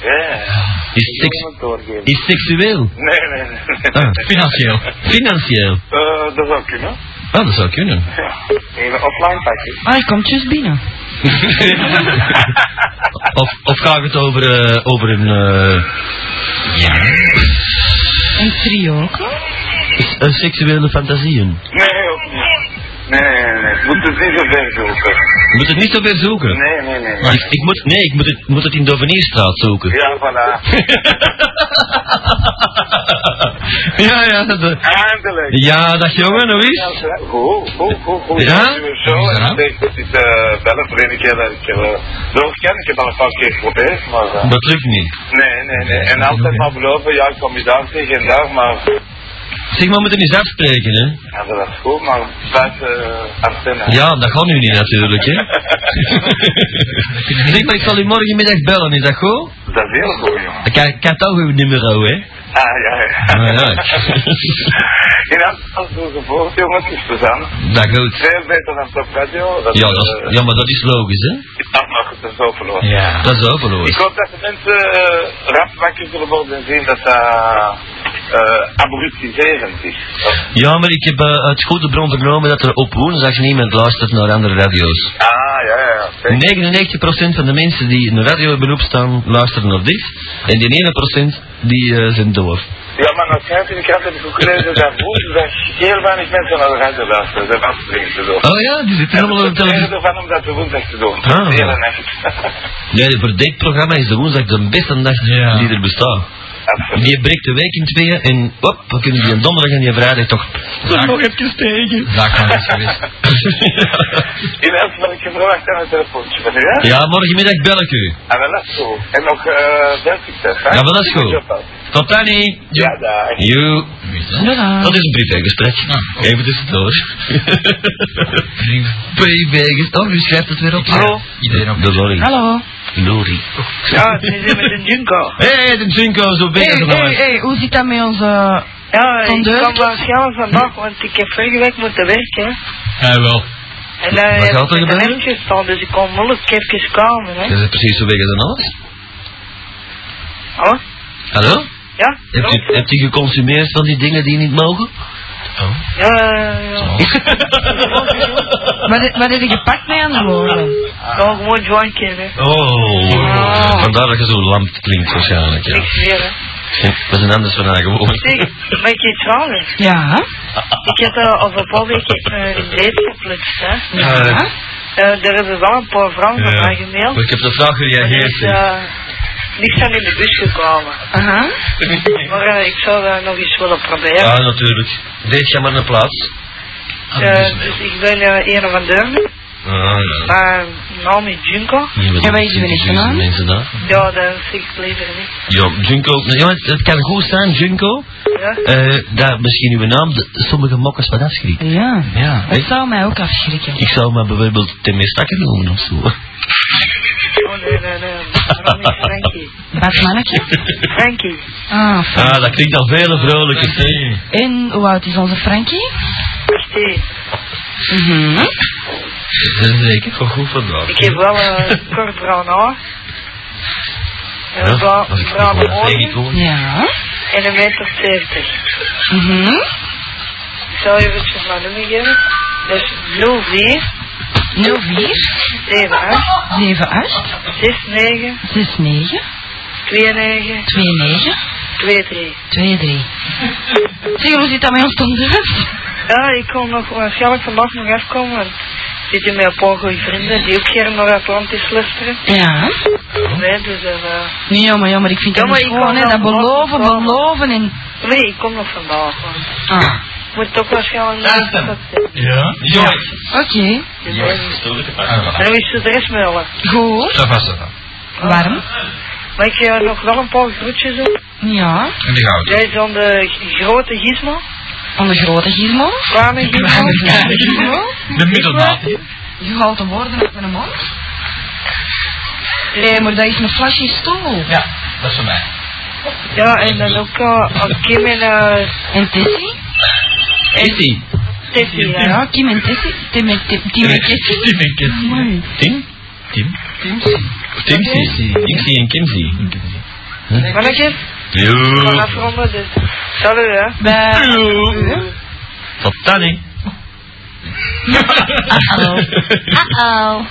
G: Ja, ja.
A: Is,
G: Ik
A: seks,
G: wil het doorgeven.
A: is seksueel?
G: Nee, nee, nee.
A: Ah.
B: Financieel.
A: Financieel?
G: Eh, dat zou kunnen.
A: Ah, dat zou kunnen.
G: Ja. Even offline pakken.
D: Ah, hij komt juist binnen.
A: Of, of gaat het over, eh, over een... eh,
D: Een trio ook nog?
A: eh, seksuele fantasieën?
G: Nee, ook niet. Nee, nee, nee. Ik moet het niet zo ver zoeken.
A: Je moet het niet zo ver zoeken.
G: Nee, nee, nee.
A: Ik, ik moet, nee, ik moet het, moet het in de Dovenierstraat zoeken.
G: Ja, voilà.
A: Ja, ja, dat... eh,
G: Eindelijk.
A: Ja, dat jongen, hoe is? het?
G: Goed, goed, goed, goed.
A: Ja?
G: Ik doe Zo, en ik denk dat dit eh bellen voor een keer dat ik eh, wel ken. Ik heb al een paar keer geprobeerd, maar... eh,
A: Dat lukt niet.
G: nee, nee, nee. En altijd maar beloven, ja, ik kom je daar tegen en daar, maar...
A: Zeg maar, we moeten eens afspreken, hè?
G: Ja, dat is goed, maar buiten eh, antenne.
A: Ja, dat gaat nu niet natuurlijk, hè? zeg maar, ik zal u morgenmiddag bellen, is dat goed?
G: Dat is heel goed, jongen.
A: Ik ik had toch uw nummer, hè?
G: Ah, ja, ja.
A: Ah, ja.
G: In Amsterdam zo gevoerd, jongen, het is plezant.
A: Dat goed.
G: Veel beter dan Top Radio. Dat,
A: Ja, dat
G: eh,
A: is, ja, maar dat is logisch, hè?
G: dat mag het er zo verloren.
B: Ja.
A: Dat is ook
G: Ik
A: logisch.
G: hoop dat de mensen eh, rap wakker zullen worden en zien dat dat eh abruptiserend is.
A: Ja, maar ik heb eh, uit goede bron vernomen dat er op woensdag niemand luistert naar andere radio's.
G: Ah, ja, ja, ja. zeker.
A: 99% van de mensen die een radio hebben opstaan, luisteren naar dit. En die 1% die eh, zijn doof.
G: Ja, maar nog schijnt in de krant heb ik ook gelezen dat woensdag heel weinig mensen naar de radio luisteren. Dat was dringend te doen.
A: Oh ja, die zitten allemaal op
G: Ik ben
A: televisie.
G: ervan om dat de woensdag te doen.
A: Ah.
G: De hele nacht.
A: Nee, voor dit programma is de woensdag de beste dag
B: Ja.
A: die er bestaat.
G: Absoluut.
A: Die breekt de week in tweeën en hop, we kunnen die donderdag en die vrijdag toch...
B: Daar-
D: Nog even tegen.
B: Daar kan het geweest.
G: In elk geval, ik heb verwacht aan het telefoontje van u, hè?
A: ja, morgenmiddag bel ik u.
G: Ah, wel, dat is goed. En nog eh, veel succes, hè?
A: Ja, wel, dat is goed. Tot dan, hè.
G: Ja, daar.
A: Joe. Dat is een privégesprek.
B: Ah, oh.
A: Even tussendoor. privégesprek. Oh, u schrijft het weer op.
B: Hallo. Iedereen op
A: De lorry.
D: Hallo.
A: Lorry.
D: Ja, we zijn met een junko.
A: Hé, hey, de Junko, zo
D: Hé,
A: bezig hey,
D: hé, hé, hoe zit dat met onze...
E: Ja, ik
D: Vandaag
E: kan
D: toch?
E: wel gaan vandaag, want ik heb vorige week moeten werken.
B: Ja, wel.
E: En daar
A: Wat
E: heb
A: gaat
E: ik
A: er
E: met een
A: gebeuren?
E: hemdje staan, dus ik kon moeilijk even komen. Hè.
A: Dat is precies zo bezig dan alles.
E: Hallo?
A: Hallo?
E: Ja?
A: Hebt u, hebt u geconsumeerd van die dingen die niet mogen? Oh.
E: Ja, ja,
D: Oh.
E: ja.
D: Wat, he- wat heb je gepakt met andere woorden?
E: Nou, gewoon jointje, hè.
A: Oh, vandaar dat je zo lamp klinkt waarschijnlijk, ja.
E: Niks meer, hè.
A: Dat is een anders van haar gewoon.
E: Zeg, mag ik je iets vragen?
D: Ja.
E: Ik heb eh, al een paar weken eh, een date geplukt, hè.
A: Eh,
E: Eh, daar hebben wel een paar vrouwen van mij gemaild.
A: maar ik heb de vraag
E: Er is
A: gereageerd. hè.
E: eh, niks aan in de bus gekomen.
D: Aha.
E: Maar eh, ik zou dat nog eens willen proberen.
A: Ja, natuurlijk. Deed jij maar naar plaats.
E: Eh, dus ik ben eh een van de
A: Ah, ja.
E: maar naam is Junko.
A: Ja,
D: weet je wel niet van aan?
A: mensen daar.
E: Ja, dat zeg ik liever niet.
A: Ja, Junko. Ja, het, het kan goed zijn, Junko,
E: Ja?
A: eh, dat misschien uw naam de- sommige mokkers wat afschrikt.
D: Ja.
A: Ja.
D: Dat zou mij ook afschrikken.
A: Ik zou maar bijvoorbeeld Timmy Stakker noemen of zo.
E: Oh nee, nee, nee. Waarom niet Frankie?
D: Wat mannetje?
E: Frankie.
D: Ah, fijn.
A: Ah, dat klinkt al veel vrolijker, hè?
D: En hoe oud is onze Frankie?
E: Steve.
D: Mhm.
A: Zeker, gewoon goed vandaag.
E: Ik heb wel een kort eh, bruin haar. En een bra- bruine ogen.
D: Ja.
E: En een meter zeventig.
D: Mhm.
E: Ik zal je even mijn nummer geven. Dat is 04
D: 04
E: 78 69
D: 78 69
E: 29
D: 29
E: 23.
D: 23. Zeg, hoe zit dat met ons tondeus?
E: Ja, ik kom nog waarschijnlijk vandaag nog afkomen. Want ik zit hier met een paar goede vrienden die ook graag naar Atlantis luisteren.
D: Ja.
E: Nee, dus eh,
D: Nee, jammer, jammer. Ik vind
E: Ja,
D: dat
E: maar
D: niet
E: ik
D: gewoon,
E: wou
D: hè. Dat
E: wel
D: beloven,
E: wel-
D: beloven en...
E: nee, ik kom nog vandaag. want
D: Ah.
E: Ik moet toch waarschijnlijk nog
B: Daar is hem. Ja?
A: Ja.
D: Oké.
E: En
B: Ah, voilà.
E: dan is het de rest wel. hè.
D: Goed.
B: Dat was het dan.
D: Warm.
E: Maar ik eh, nog wel een paar groetjes op.
D: Ja.
B: En die goud.
E: Jij is dan de g- grote gizmo,
D: Van de grote gizmo.
E: kleine gizmo.
D: Kleine gizmo.
B: De middelmaat.
D: Je haalt de woorden uit mijn mond. Nee, maar dat is een flesje stoel.
B: Ja, dat is voor mij.
E: Ja, en dan ook eh, aan Kim en eh,
D: En Tessie?
A: Is die?
E: Tessie. hè.
D: Ja, Kim en Tessie. Tim en Tim, Tim en Tessie.
B: Die vind ik het.
D: Mooi.
A: Tim? Tim? Timsy. Timsy en Kimsy.
E: Mannetjes, we gaan
A: Joe.
E: afronden, dus salut hè.
D: Bij...
A: Tot dan, hè.
D: Uh-oh. Uh-oh.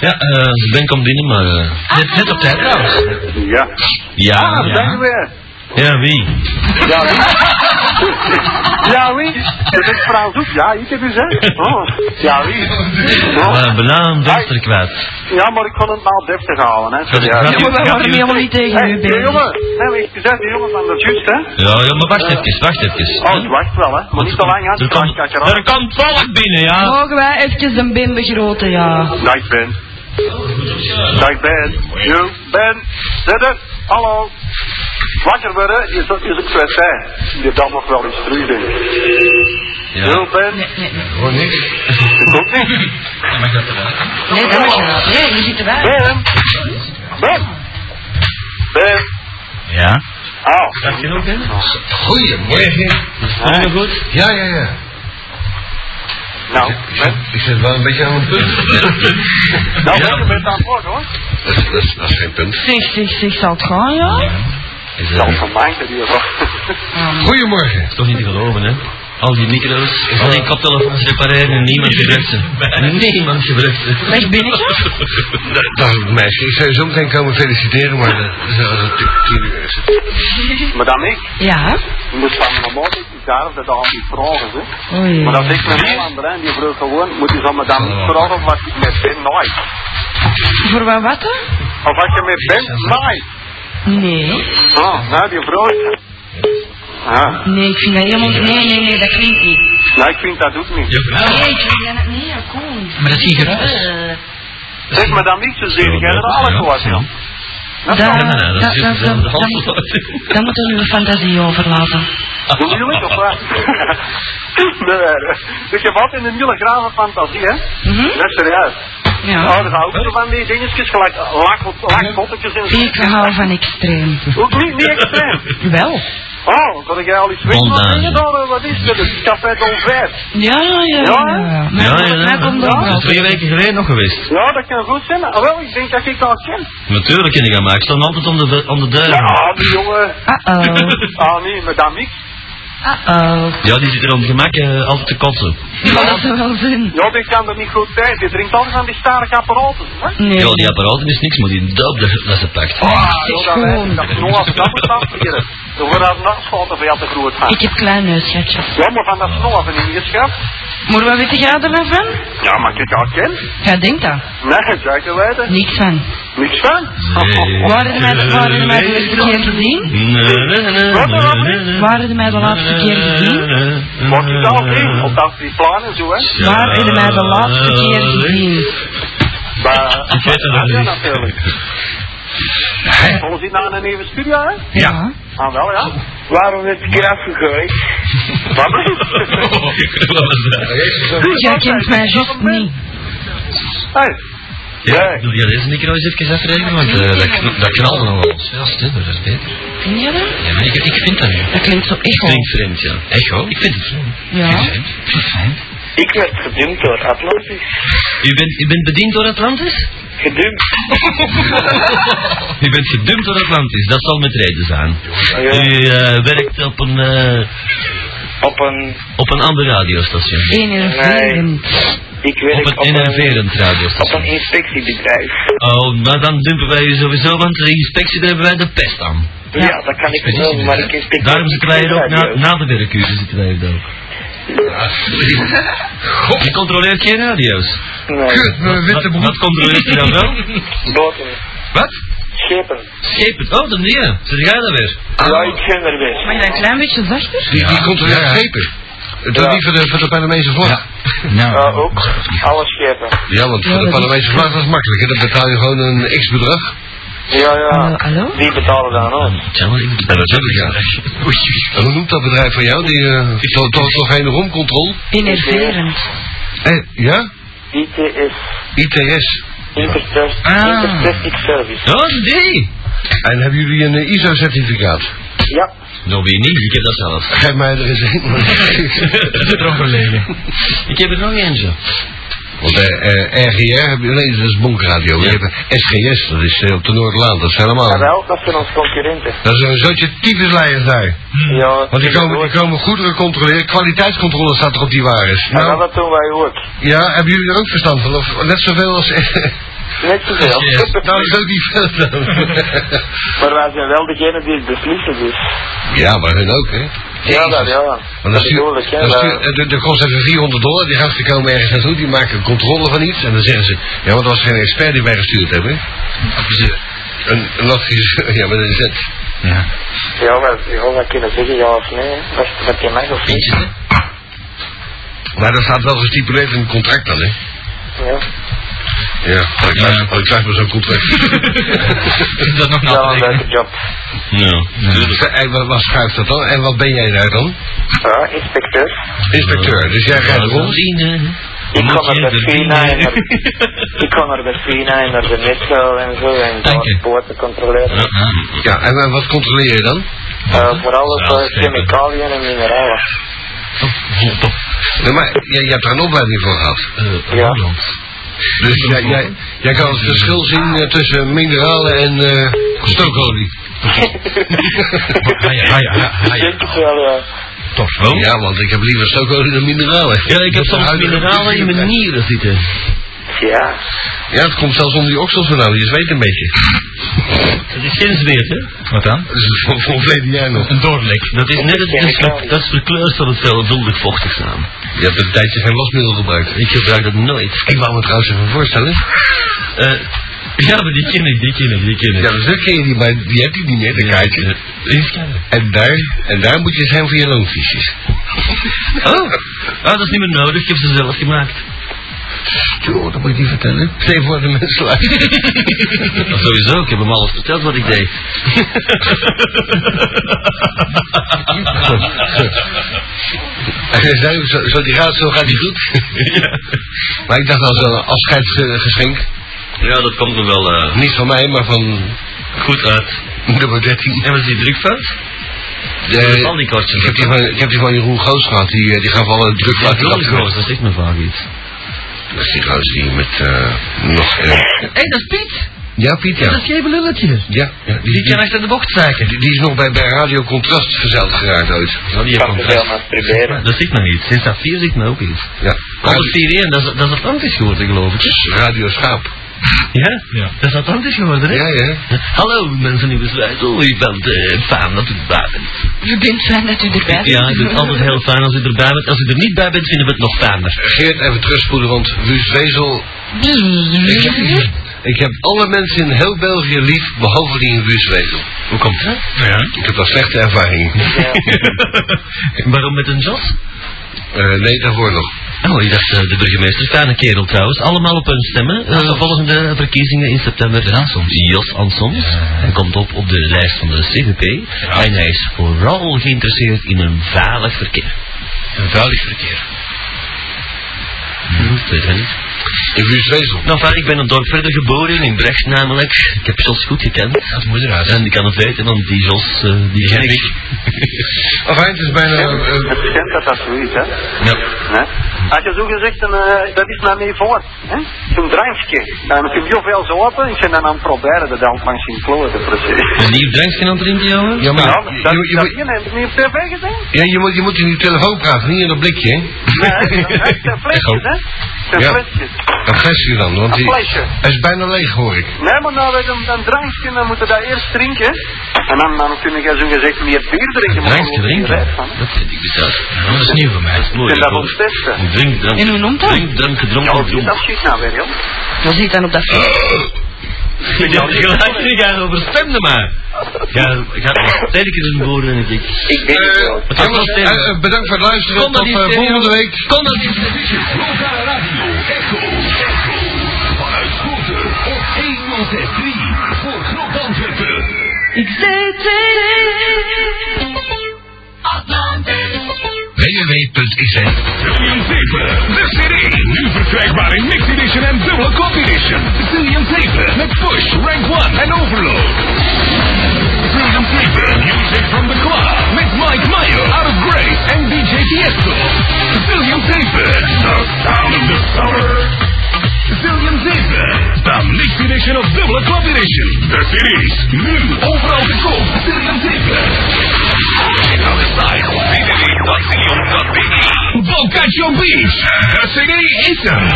A: Ja, eh, Ben komt binnen, maar... eh,
B: Net, net op tijd trouwens.
G: Ja.
A: ja,
G: Ah,
A: ja.
G: zijn we.
A: Ja, wie?
G: Ja, wie? Ja, wie? Dat is vrouw Zoek. Ja, ik heb u zeg. Oh. Ja, wie? Oh.
A: Uh, banaan, duister kwijt.
G: Ja, maar ik kon het nou deftig houden, hè. Sorry, ja.
A: Ja,
D: maar wij
A: Gaat
D: waren
A: u-
D: helemaal niet tegen
G: Hey,
D: u,
G: die
D: Ben.
G: jongen. Nee, maar ik zei die jongen van de juist, hè.
A: Ja, ja, maar wacht even, wacht even.
G: Eh. Oh, het wacht wel, hè. Maar niet te lang, hè.
A: Er komt,
G: Kijk, kijk,
A: er komt volk binnen,
G: Oh.
A: ja.
D: Mogen wij even de Ben begroten, ja.
G: Dag, Ben. Dag, Ben. Jo, Ben. Zet het. Hallo. Wakker worden is, is ook zo fijn. Je dan nog wel eens terug, denk ik. Jo, Ben.
B: Hoor niks.
G: Ik ook niet.
B: Ja, maar ik had eruit.
D: Nee, dat mag je wel. Nee, hier zitten wij.
G: Ben. Ben. Ben.
B: Ja.
G: Oh.
A: Dank je nog, hè?
G: Nou,
H: Goedemorgen.
A: Allemaal goed?
H: Ja, ja, ja.
G: Nou, Ben.
H: Ik zit wel een beetje aan een punt.
G: Nou, Ben, je bent aan het worden, hoor.
H: dat, is- dat, is- dat is geen punt.
D: Zeg, zeg, zeg, zal het gaan, ja?
G: Dat is van mij, in ieder geval.
H: Goedemorgen.
A: Is toch niet te geloven, hè? Al die micro's, al die koptelefoons repareren en niemand gebruikt ze. Niemand gebruikt ze.
D: Leg binnetje.
H: Dag meisje, ik zou je zo meteen komen feliciteren, maar eh, zo als het tien- tien uur is.
G: Madame, ik
D: Ja.
G: moest van mijn moeder, ik daar, dat al die vragen, hè.
D: Oei.
G: Maar dat is echt een Nederlander, hè. Die vroeg gewoon, moet je zo madame vragen wat ik met Ben nooit.
D: Voor wat wat? hè?
G: Of wat je met Ben nooit.
D: Nee.
G: Oh, nou, die brood. Ja,
D: Nee, ik vind dat helemaal... Nee, nee, nee, dat klinkt niet.
G: nou, ik vind dat ook niet.
D: Oh. Nee, ik vind dat... Nee, dat komt niet.
B: Maar dat is geen geruis.
D: Eh,
G: Zeg maar dan niet zozeer de generale gewas, joh.
D: Dat,
A: Nee, nee, nee, dat is
D: dat-
A: juist
D: dat-
A: dezelfde
D: dat-
A: handel.
D: dat moeten we uw fantasie overlaten.
G: Doen jullie of wat? Nee, nee. Dus je valt in een hele grave fantasie, hè?
D: Mhm.
G: Dat is serieus.
D: Ja.
G: Nou, er houden ze van die dingetjes, gelijk lak- lakpottetjes en zo.
D: Ik hou van extreem.
G: Ook niet, niet extreem.
D: Wel?
G: Oh, dat ik al iets weet.
A: Vandaan.
G: Wat ben je dan? eh, Wat is dit? Het is Café Dolvet.
D: Ja, ja, ja. ja. Mij
A: Ja,
D: komt-
A: ja,
D: mij
A: ja.
D: komt ook
A: Dat is
D: wel.
A: twee weken geleden nog geweest.
G: Ja, Nou, dat kan goed zijn. Ah, wel, ik denk dat ik dat ken.
A: Natuurlijk ken ik hem, maar ik stond altijd om de, om de deur.
G: Ja, die jongen.
D: Uh-oh.
G: Ah, nee, madame X.
D: Uh-oh.
A: Ja, die zit er op het gemak eh, altijd te kotsen.
D: Ik wil dat zo wel doen.
G: Ja, Nou, die kan er niet goed bij. Die drinkt altijd van die stare apparaten, hè?
D: Nee.
A: Ja, die apparaten is niks, maar die duip dat, dat ze pakt.
D: Oh,
G: Oh. Ja, dat wij- dat is nog als dat moet afkeren. Dan wordt dat nachtschalten van jou te groot gaan.
D: Ik heb klein neusgatjes.
G: Ja, maar van dat snel af in je schap.
D: Maar wat weet jij ervan van?
G: Ja, maar kijk, dat ken.
D: Jij denkt dat?
G: Nee, zeker weten.
D: Niks van.
G: Niks van.
A: Nee.
D: Waren mij, waren mij de laatste keer gezien?
A: Nee, nee, nee, nee,
G: Wat, wat,
A: nee, nee.
D: Waren mij de laatste keer gezien?
G: Mag je dat zien? Op dat die planen zo, hè?
A: Ja.
D: Waar hebben mij de laatste keer gezien?
G: Maar,
A: Ik weet het nog
G: ja,
A: niet.
G: natuurlijk. Volgens in aan een even studio, hè?
D: Ja.
G: Ah, wel, ja. Waarom is het keer afgegooid? Wat
D: Jij kent mij juist niet.
G: Hey.
A: Ja, wil je deze micro eens even afrekenen? Want eh, dat, kn- dat knalde nog wel. eens. Ja, stil, dat is beter.
D: Vind je dat?
A: Ja, maar ik, ik vind dat nu.
D: Dat klinkt zo echo.
A: Klinkt vreemd, ja. Echo? Ik vind het vreemd.
D: Ja.
G: Ik werd gedumpt door Atlantis.
A: U bent, u bent bediend door Atlantis?
G: Gedumpt?
A: U bent gedumpt door Atlantis, dat zal met reden zijn.
G: ja.
A: U eh, werkt op een, eh,
G: Op een...
A: op een ander radiostation.
D: Enerverend.
G: Ik
A: Op een enerverend radiostation.
G: inspectiebedrijf.
A: Oh, maar dan dumpen wij u sowieso, want de inspectie daar hebben wij de pest aan.
G: Ja, dat kan ik wel, maar ik inspecteer
A: eh, Daarom zitten wij
G: niet
A: hier ook na,
G: radio.
A: na de werkuren zitten wij hier ook. God, je controleert geen radio's.
G: Nee,
H: Kut, mijn witte
A: Wat, wat
H: broek.
A: controleert je dan wel?
G: boten,
A: Wat?
G: schepen.
A: Schepen. Oh, dan nee. Zeg jij dat weer?
G: Ja, ik ben er weer.
D: Mag je dat een klein beetje zachter?
H: Die, die komt er
B: Ja, ja.
H: schepen. Het is
G: Ja.
H: niet voor de, voor de Panamese vlag. Ja.
B: Nou,
G: Ja, ook. Alle schepen.
H: want
D: Ja,
H: voor de
D: dat is-
H: Panamese vlag dat is makkelijk. Hè? Dan betaal je gewoon een x-bedrag.
G: Ja,
D: Hallo,
G: ja.
D: hallo?
G: Die betalen dan ook.
A: Tja, maar ik-
H: Ja, natuurlijk, ja. En hoe noemt dat bedrijf van jou? Die eh, to- to- toch geen romcontrol?
D: Enerverend.
H: Eh, ja?
G: ITS.
H: ITS.
G: Intertest.
B: Ah.
G: Intertestic Service.
A: Oh, nee.
H: En hebben jullie een eh, ISO-certificaat?
G: Ja.
A: Nou, weer niet. Ik heb dat zelf.
H: Geef mij er eens een.
B: erover liggen.
A: Ik heb er nog eentje.
H: Want eh, eh, RGR hebben nee, dat is bonkradio. We
A: Ja.
H: hebben SGS, dat is eh, op de Noordlaan. Dat zijn
A: Ah.
H: allemaal...
G: Jawel, dat zijn onze concurrenten.
H: Dat zijn een zootje tyfusleiers daar.
G: Ja.
H: Want die komen, die
G: Ja,
H: komen goederen controleren. Kwaliteitscontrole staat er op die wares.
G: nou,
H: Nou,
G: dat doen wij ook.
H: ja, hebben jullie er ook verstand van? Of net zoveel als...
J: Net zoveel.
A: Nou, is ook niet veel dan.
J: Maar wij zijn wel degene die het beslissen, dus.
A: ja, maar hun ook, hè?
J: Ja, dat, ja.
A: Want
J: dat
A: dan
J: bedoel
A: stuur,
J: ik, hè.
A: dan
J: dat-
A: stuur, eh, de, de kost even 400 dollar, die gasten komen ergens naartoe, die maken een controle van iets en dan zeggen ze, ja, maar dat was geen expert die wij gestuurd hebben. Een, een adviseur, ja, maar dat is het.
K: Ja.
J: Ja, maar gewoon wat kunnen zeggen, ja of nee. Dat, dat je mag of niet.
A: Maar dat staat wel gestipuleerd in het contract dan, hè?
J: Ja.
A: Ja, oh, ik krijg, oh, ik krijg maar zo'n contract.
K: Is dat nog
J: Ja, een
K: nou?
J: leuke job.
C: Nou,
A: en Dus, eh, wat, wat schuift dat dan? En wat ben jij daar dan?
J: Ja, inspecteur.
A: Inspecteur, dus jij gaat rond.
J: Ik
C: moet
J: kon
C: je
J: naar de
C: verdienen.
J: Fina en naar, ik kon naar de Fina en naar de metro en zo en
K: Dank je.
J: de poorten controleren.
A: Ja, en, eh, wat controleer je dan?
J: Eh, vooral op eh, chemicaliën en mineralen.
A: Nee, maar jij, jij hebt daar een opleiding voor gehad.
J: Ja.
A: Dus jij, jij, jij kan het verschil zien eh, tussen mineralen en eh stookolie.
J: Ik denk het wel, ja.
C: Toch wel?
A: Ja, want ik heb liever stookolie dan mineralen.
C: Ja, ik heb
A: Dat
C: soms
A: zijn
C: mineralen in mijn nieren zitten.
J: Ja.
A: Ja, het komt zelfs onder die oksels vandaan, je zweet een beetje.
C: Dat is geen zweet, hè?
K: Wat dan?
A: Dat is van, van verleden jaar nog.
K: Een doorlek.
C: Dat is net het, dat is, ver- dat is verkleurd van het veelvuldig vochtig samen.
A: Je hebt een tijdje geen wasmiddel gebruikt.
C: Ik gebruik dat nooit.
A: Ik wou me trouwens even voorstellen.
C: Eh, ja, maar die ken ik, die ken ik, die ken ik.
A: Ja, dus dat ken je niet, maar die heb je niet meer, dat kaartje. En daar, en daar moet je zijn voor je loonfiches.
C: Oh. Ah, dat is niet meer nodig, ik heb ze zelf gemaakt.
A: Joh, dat moet je niet vertellen. Stel voor de mensen luisteren.
C: Dat sowieso, ik heb hem alles verteld wat ik deed.
A: En zo, zo, zo die gaat, zo gaat die goed. Maar ik dacht als een afscheidsgeschenk.
C: Ja, dat komt er wel eh,
A: Niet van mij, maar van
C: goed uit.
A: nummer 13.
C: En wat is die drukfout?
A: De-
C: Al die kortjes.
A: Eh, ik, heb die van, ik heb die van Jeroen Goos gehad, die, eh, die gaf alle druk
C: Ja, drukfout, dat zegt me vaak iets.
A: Dat is die goos die met eh, nog... eh,
C: Hé, dat is Piet!
A: ja, Piet, ja.
C: geen belulletje.
A: Ja, ja, die,
C: Die
A: die,
C: kan achter de bocht zeiken.
A: die- die is nog bij, bij Radio Contrast verzeild geraakt ooit.
C: Ja, die
J: Ik
C: heeft
J: kan het wel
C: contrast.
J: maar proberen.
C: Dat ziet me iets. Sinds dat 4 ziet me ook iets.
A: Ja.
C: Altijd 4-1, dat is, dat is Atlantisch geworden, geloof ik.
A: Radio Schaap.
C: Ja?
K: Ja.
C: Dat is Atlantisch geworden, hè?
A: Ja, ja.
C: Hallo, mensen in Besluitel. U bent eh, fijn dat u erbij bent.
D: We bent fijn dat u erbij bent.
C: Ja, ik vind het altijd heel fijn als u erbij bent. Als u er niet bij bent, vinden we het nog fijner.
A: Geert, even terugspoelen, want Wust Wezel... Ik heb, ik heb alle mensen in heel België lief, behalve die in Wust Wezel.
C: Hoe komt dat?
K: Ja.
A: Ik heb daar slechte ervaring.
C: Waarom met een jos?
A: Eh, nee, daarvoor nog.
C: Oh, ik dacht eh, de burgemeester, fijne kerel trouwens. Allemaal op hun stemmen. eh, volgende verkiezingen in september. Ja, soms. Jos Ansoms. Hij komt op op de lijst van de CVP. En hij is vooral geïnteresseerd in een veilig verkeer.
K: Een vuilig verkeer.
C: Hm, ik weet het niet.
A: In Wust Wezel.
C: Nou, fijn, ik ben een dorp verder geboren, in Brecht namelijk. Ik heb Jos goed gekend.
K: Dat moet eruit.
C: En ik kan het weten, want die Jos, eh, die ken ik.
A: Enfin, het is bijna... eh,
G: Het schijnt dat dat zoiets, hè?
C: Ja.
G: hè? Had je zo gezegd, een, eh, dat is naar mij voor, hè? Zo'n drankje. Nou, dan heb je veel zo open, ik ben dan aan het proberen dat dan langs in kloten, precies.
C: Een nieuw drankje aan het drinken, jongen?
A: ja, maar
G: Ja,
A: Nou, je,
G: dat, dat,
A: je, je
G: dat
A: moet,
G: heb je niet op tv gezien?
A: ja, je, moet, je moet in je telefoon praten, niet in dat blikje, hè.
G: Nee, dat zijn flesjes, hè? Dat
A: Ja.
G: zijn flesjes.
A: Dat flesje dan, want
G: Een
A: die,
G: flesje.
A: hij is bijna leeg, hoor ik.
G: Nee, maar nou, met een, een drankje, dan moeten we dat eerst drinken. En dan, dan kun je zo gezegd meer bier drinken. maar
C: Drankje
G: daar word je
C: drinken?
G: rijp van, hè.
C: Dat vind ik bizar.
K: Dat is nieuw voor mij.
C: Dat is
G: Ik
C: mooi.
G: ben dat ons testen.
C: Drink, drank.
D: En hoe noemt dat?
C: Drink, drank, gedronken,
G: Ja,
C: dronk.
G: dat schiet nou weer, joh.
D: Wat zit dan op dat
A: Eh,
D: feest?
C: Ja, gelijk, ga overstemde maar. Ga, ga nog sterker in worden en ik...
J: Ik denk het wel.
C: Het was wel
A: Eh, Jongens,
C: stil.
A: eh, eh, bedankt voor het luisteren.
C: Kom maar
A: Tot
C: niet,
A: eh,
C: Theo.
A: volgende week.
C: Kom dat niet.
L: Lokale radio Echo. Echo. Vanuit Koten op 1063 voor Groot Antwerpen.
A: www.xn
L: 7. De CD. Nu verkrijgbaar in Mixed Edition en Dubbele Cop Edition. Billion 7. Met Push, Rank 1 en Overload. Billion 7. Music from the Club. Met Mike Meyer, Out of Grace en DJ Tiesto. Billion 7. The Sound of the Summer. Zillion 7. De mixed edition of Dubbele Club Edition. De series. Nu overal te koop. Zillion 7. En alles bij op www.zillion.be. Dan kijk Cut Your Beats. De CD is er.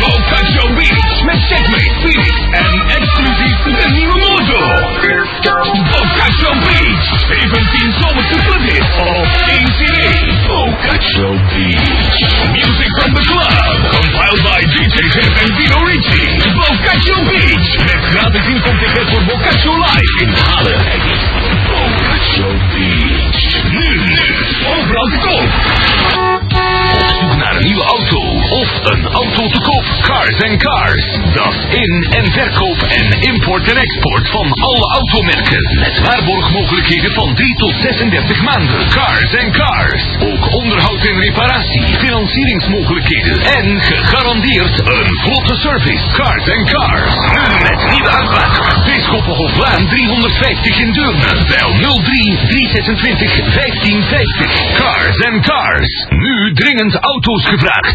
L: Go Cut Your Beats met Checkmate, Felix en exclusief de nieuwe mojo. Go Cut Your Beats. 17 zomerse playlist op één CD. Go Cut Your Beats. Music from the club. Compiled by DJ Hip en Dino Ricci. Bocaccio Beats. Met gratis inkomticket voor Bocaccio Live in Halen. Bocaccio Beach. Nu, nu. Overal te koop. Op zoek naar een nieuwe auto of een auto te koop. Cars and Cars. Dat in- en verkoop en import en export van alle automerken. Met waarborgmogelijkheden van 3 tot 36 maanden. Cars and Cars. Ook onderhoud en reparatie, financieringsmogelijkheden en gegarandeerd een vlotte service. Cars and Cars. Nu met nieuwe aanpak. Bisschoppenhoflaan 350 in Deurne. Bel 03 326 1550. Cars and Cars. Nu dringend auto's gevraagd.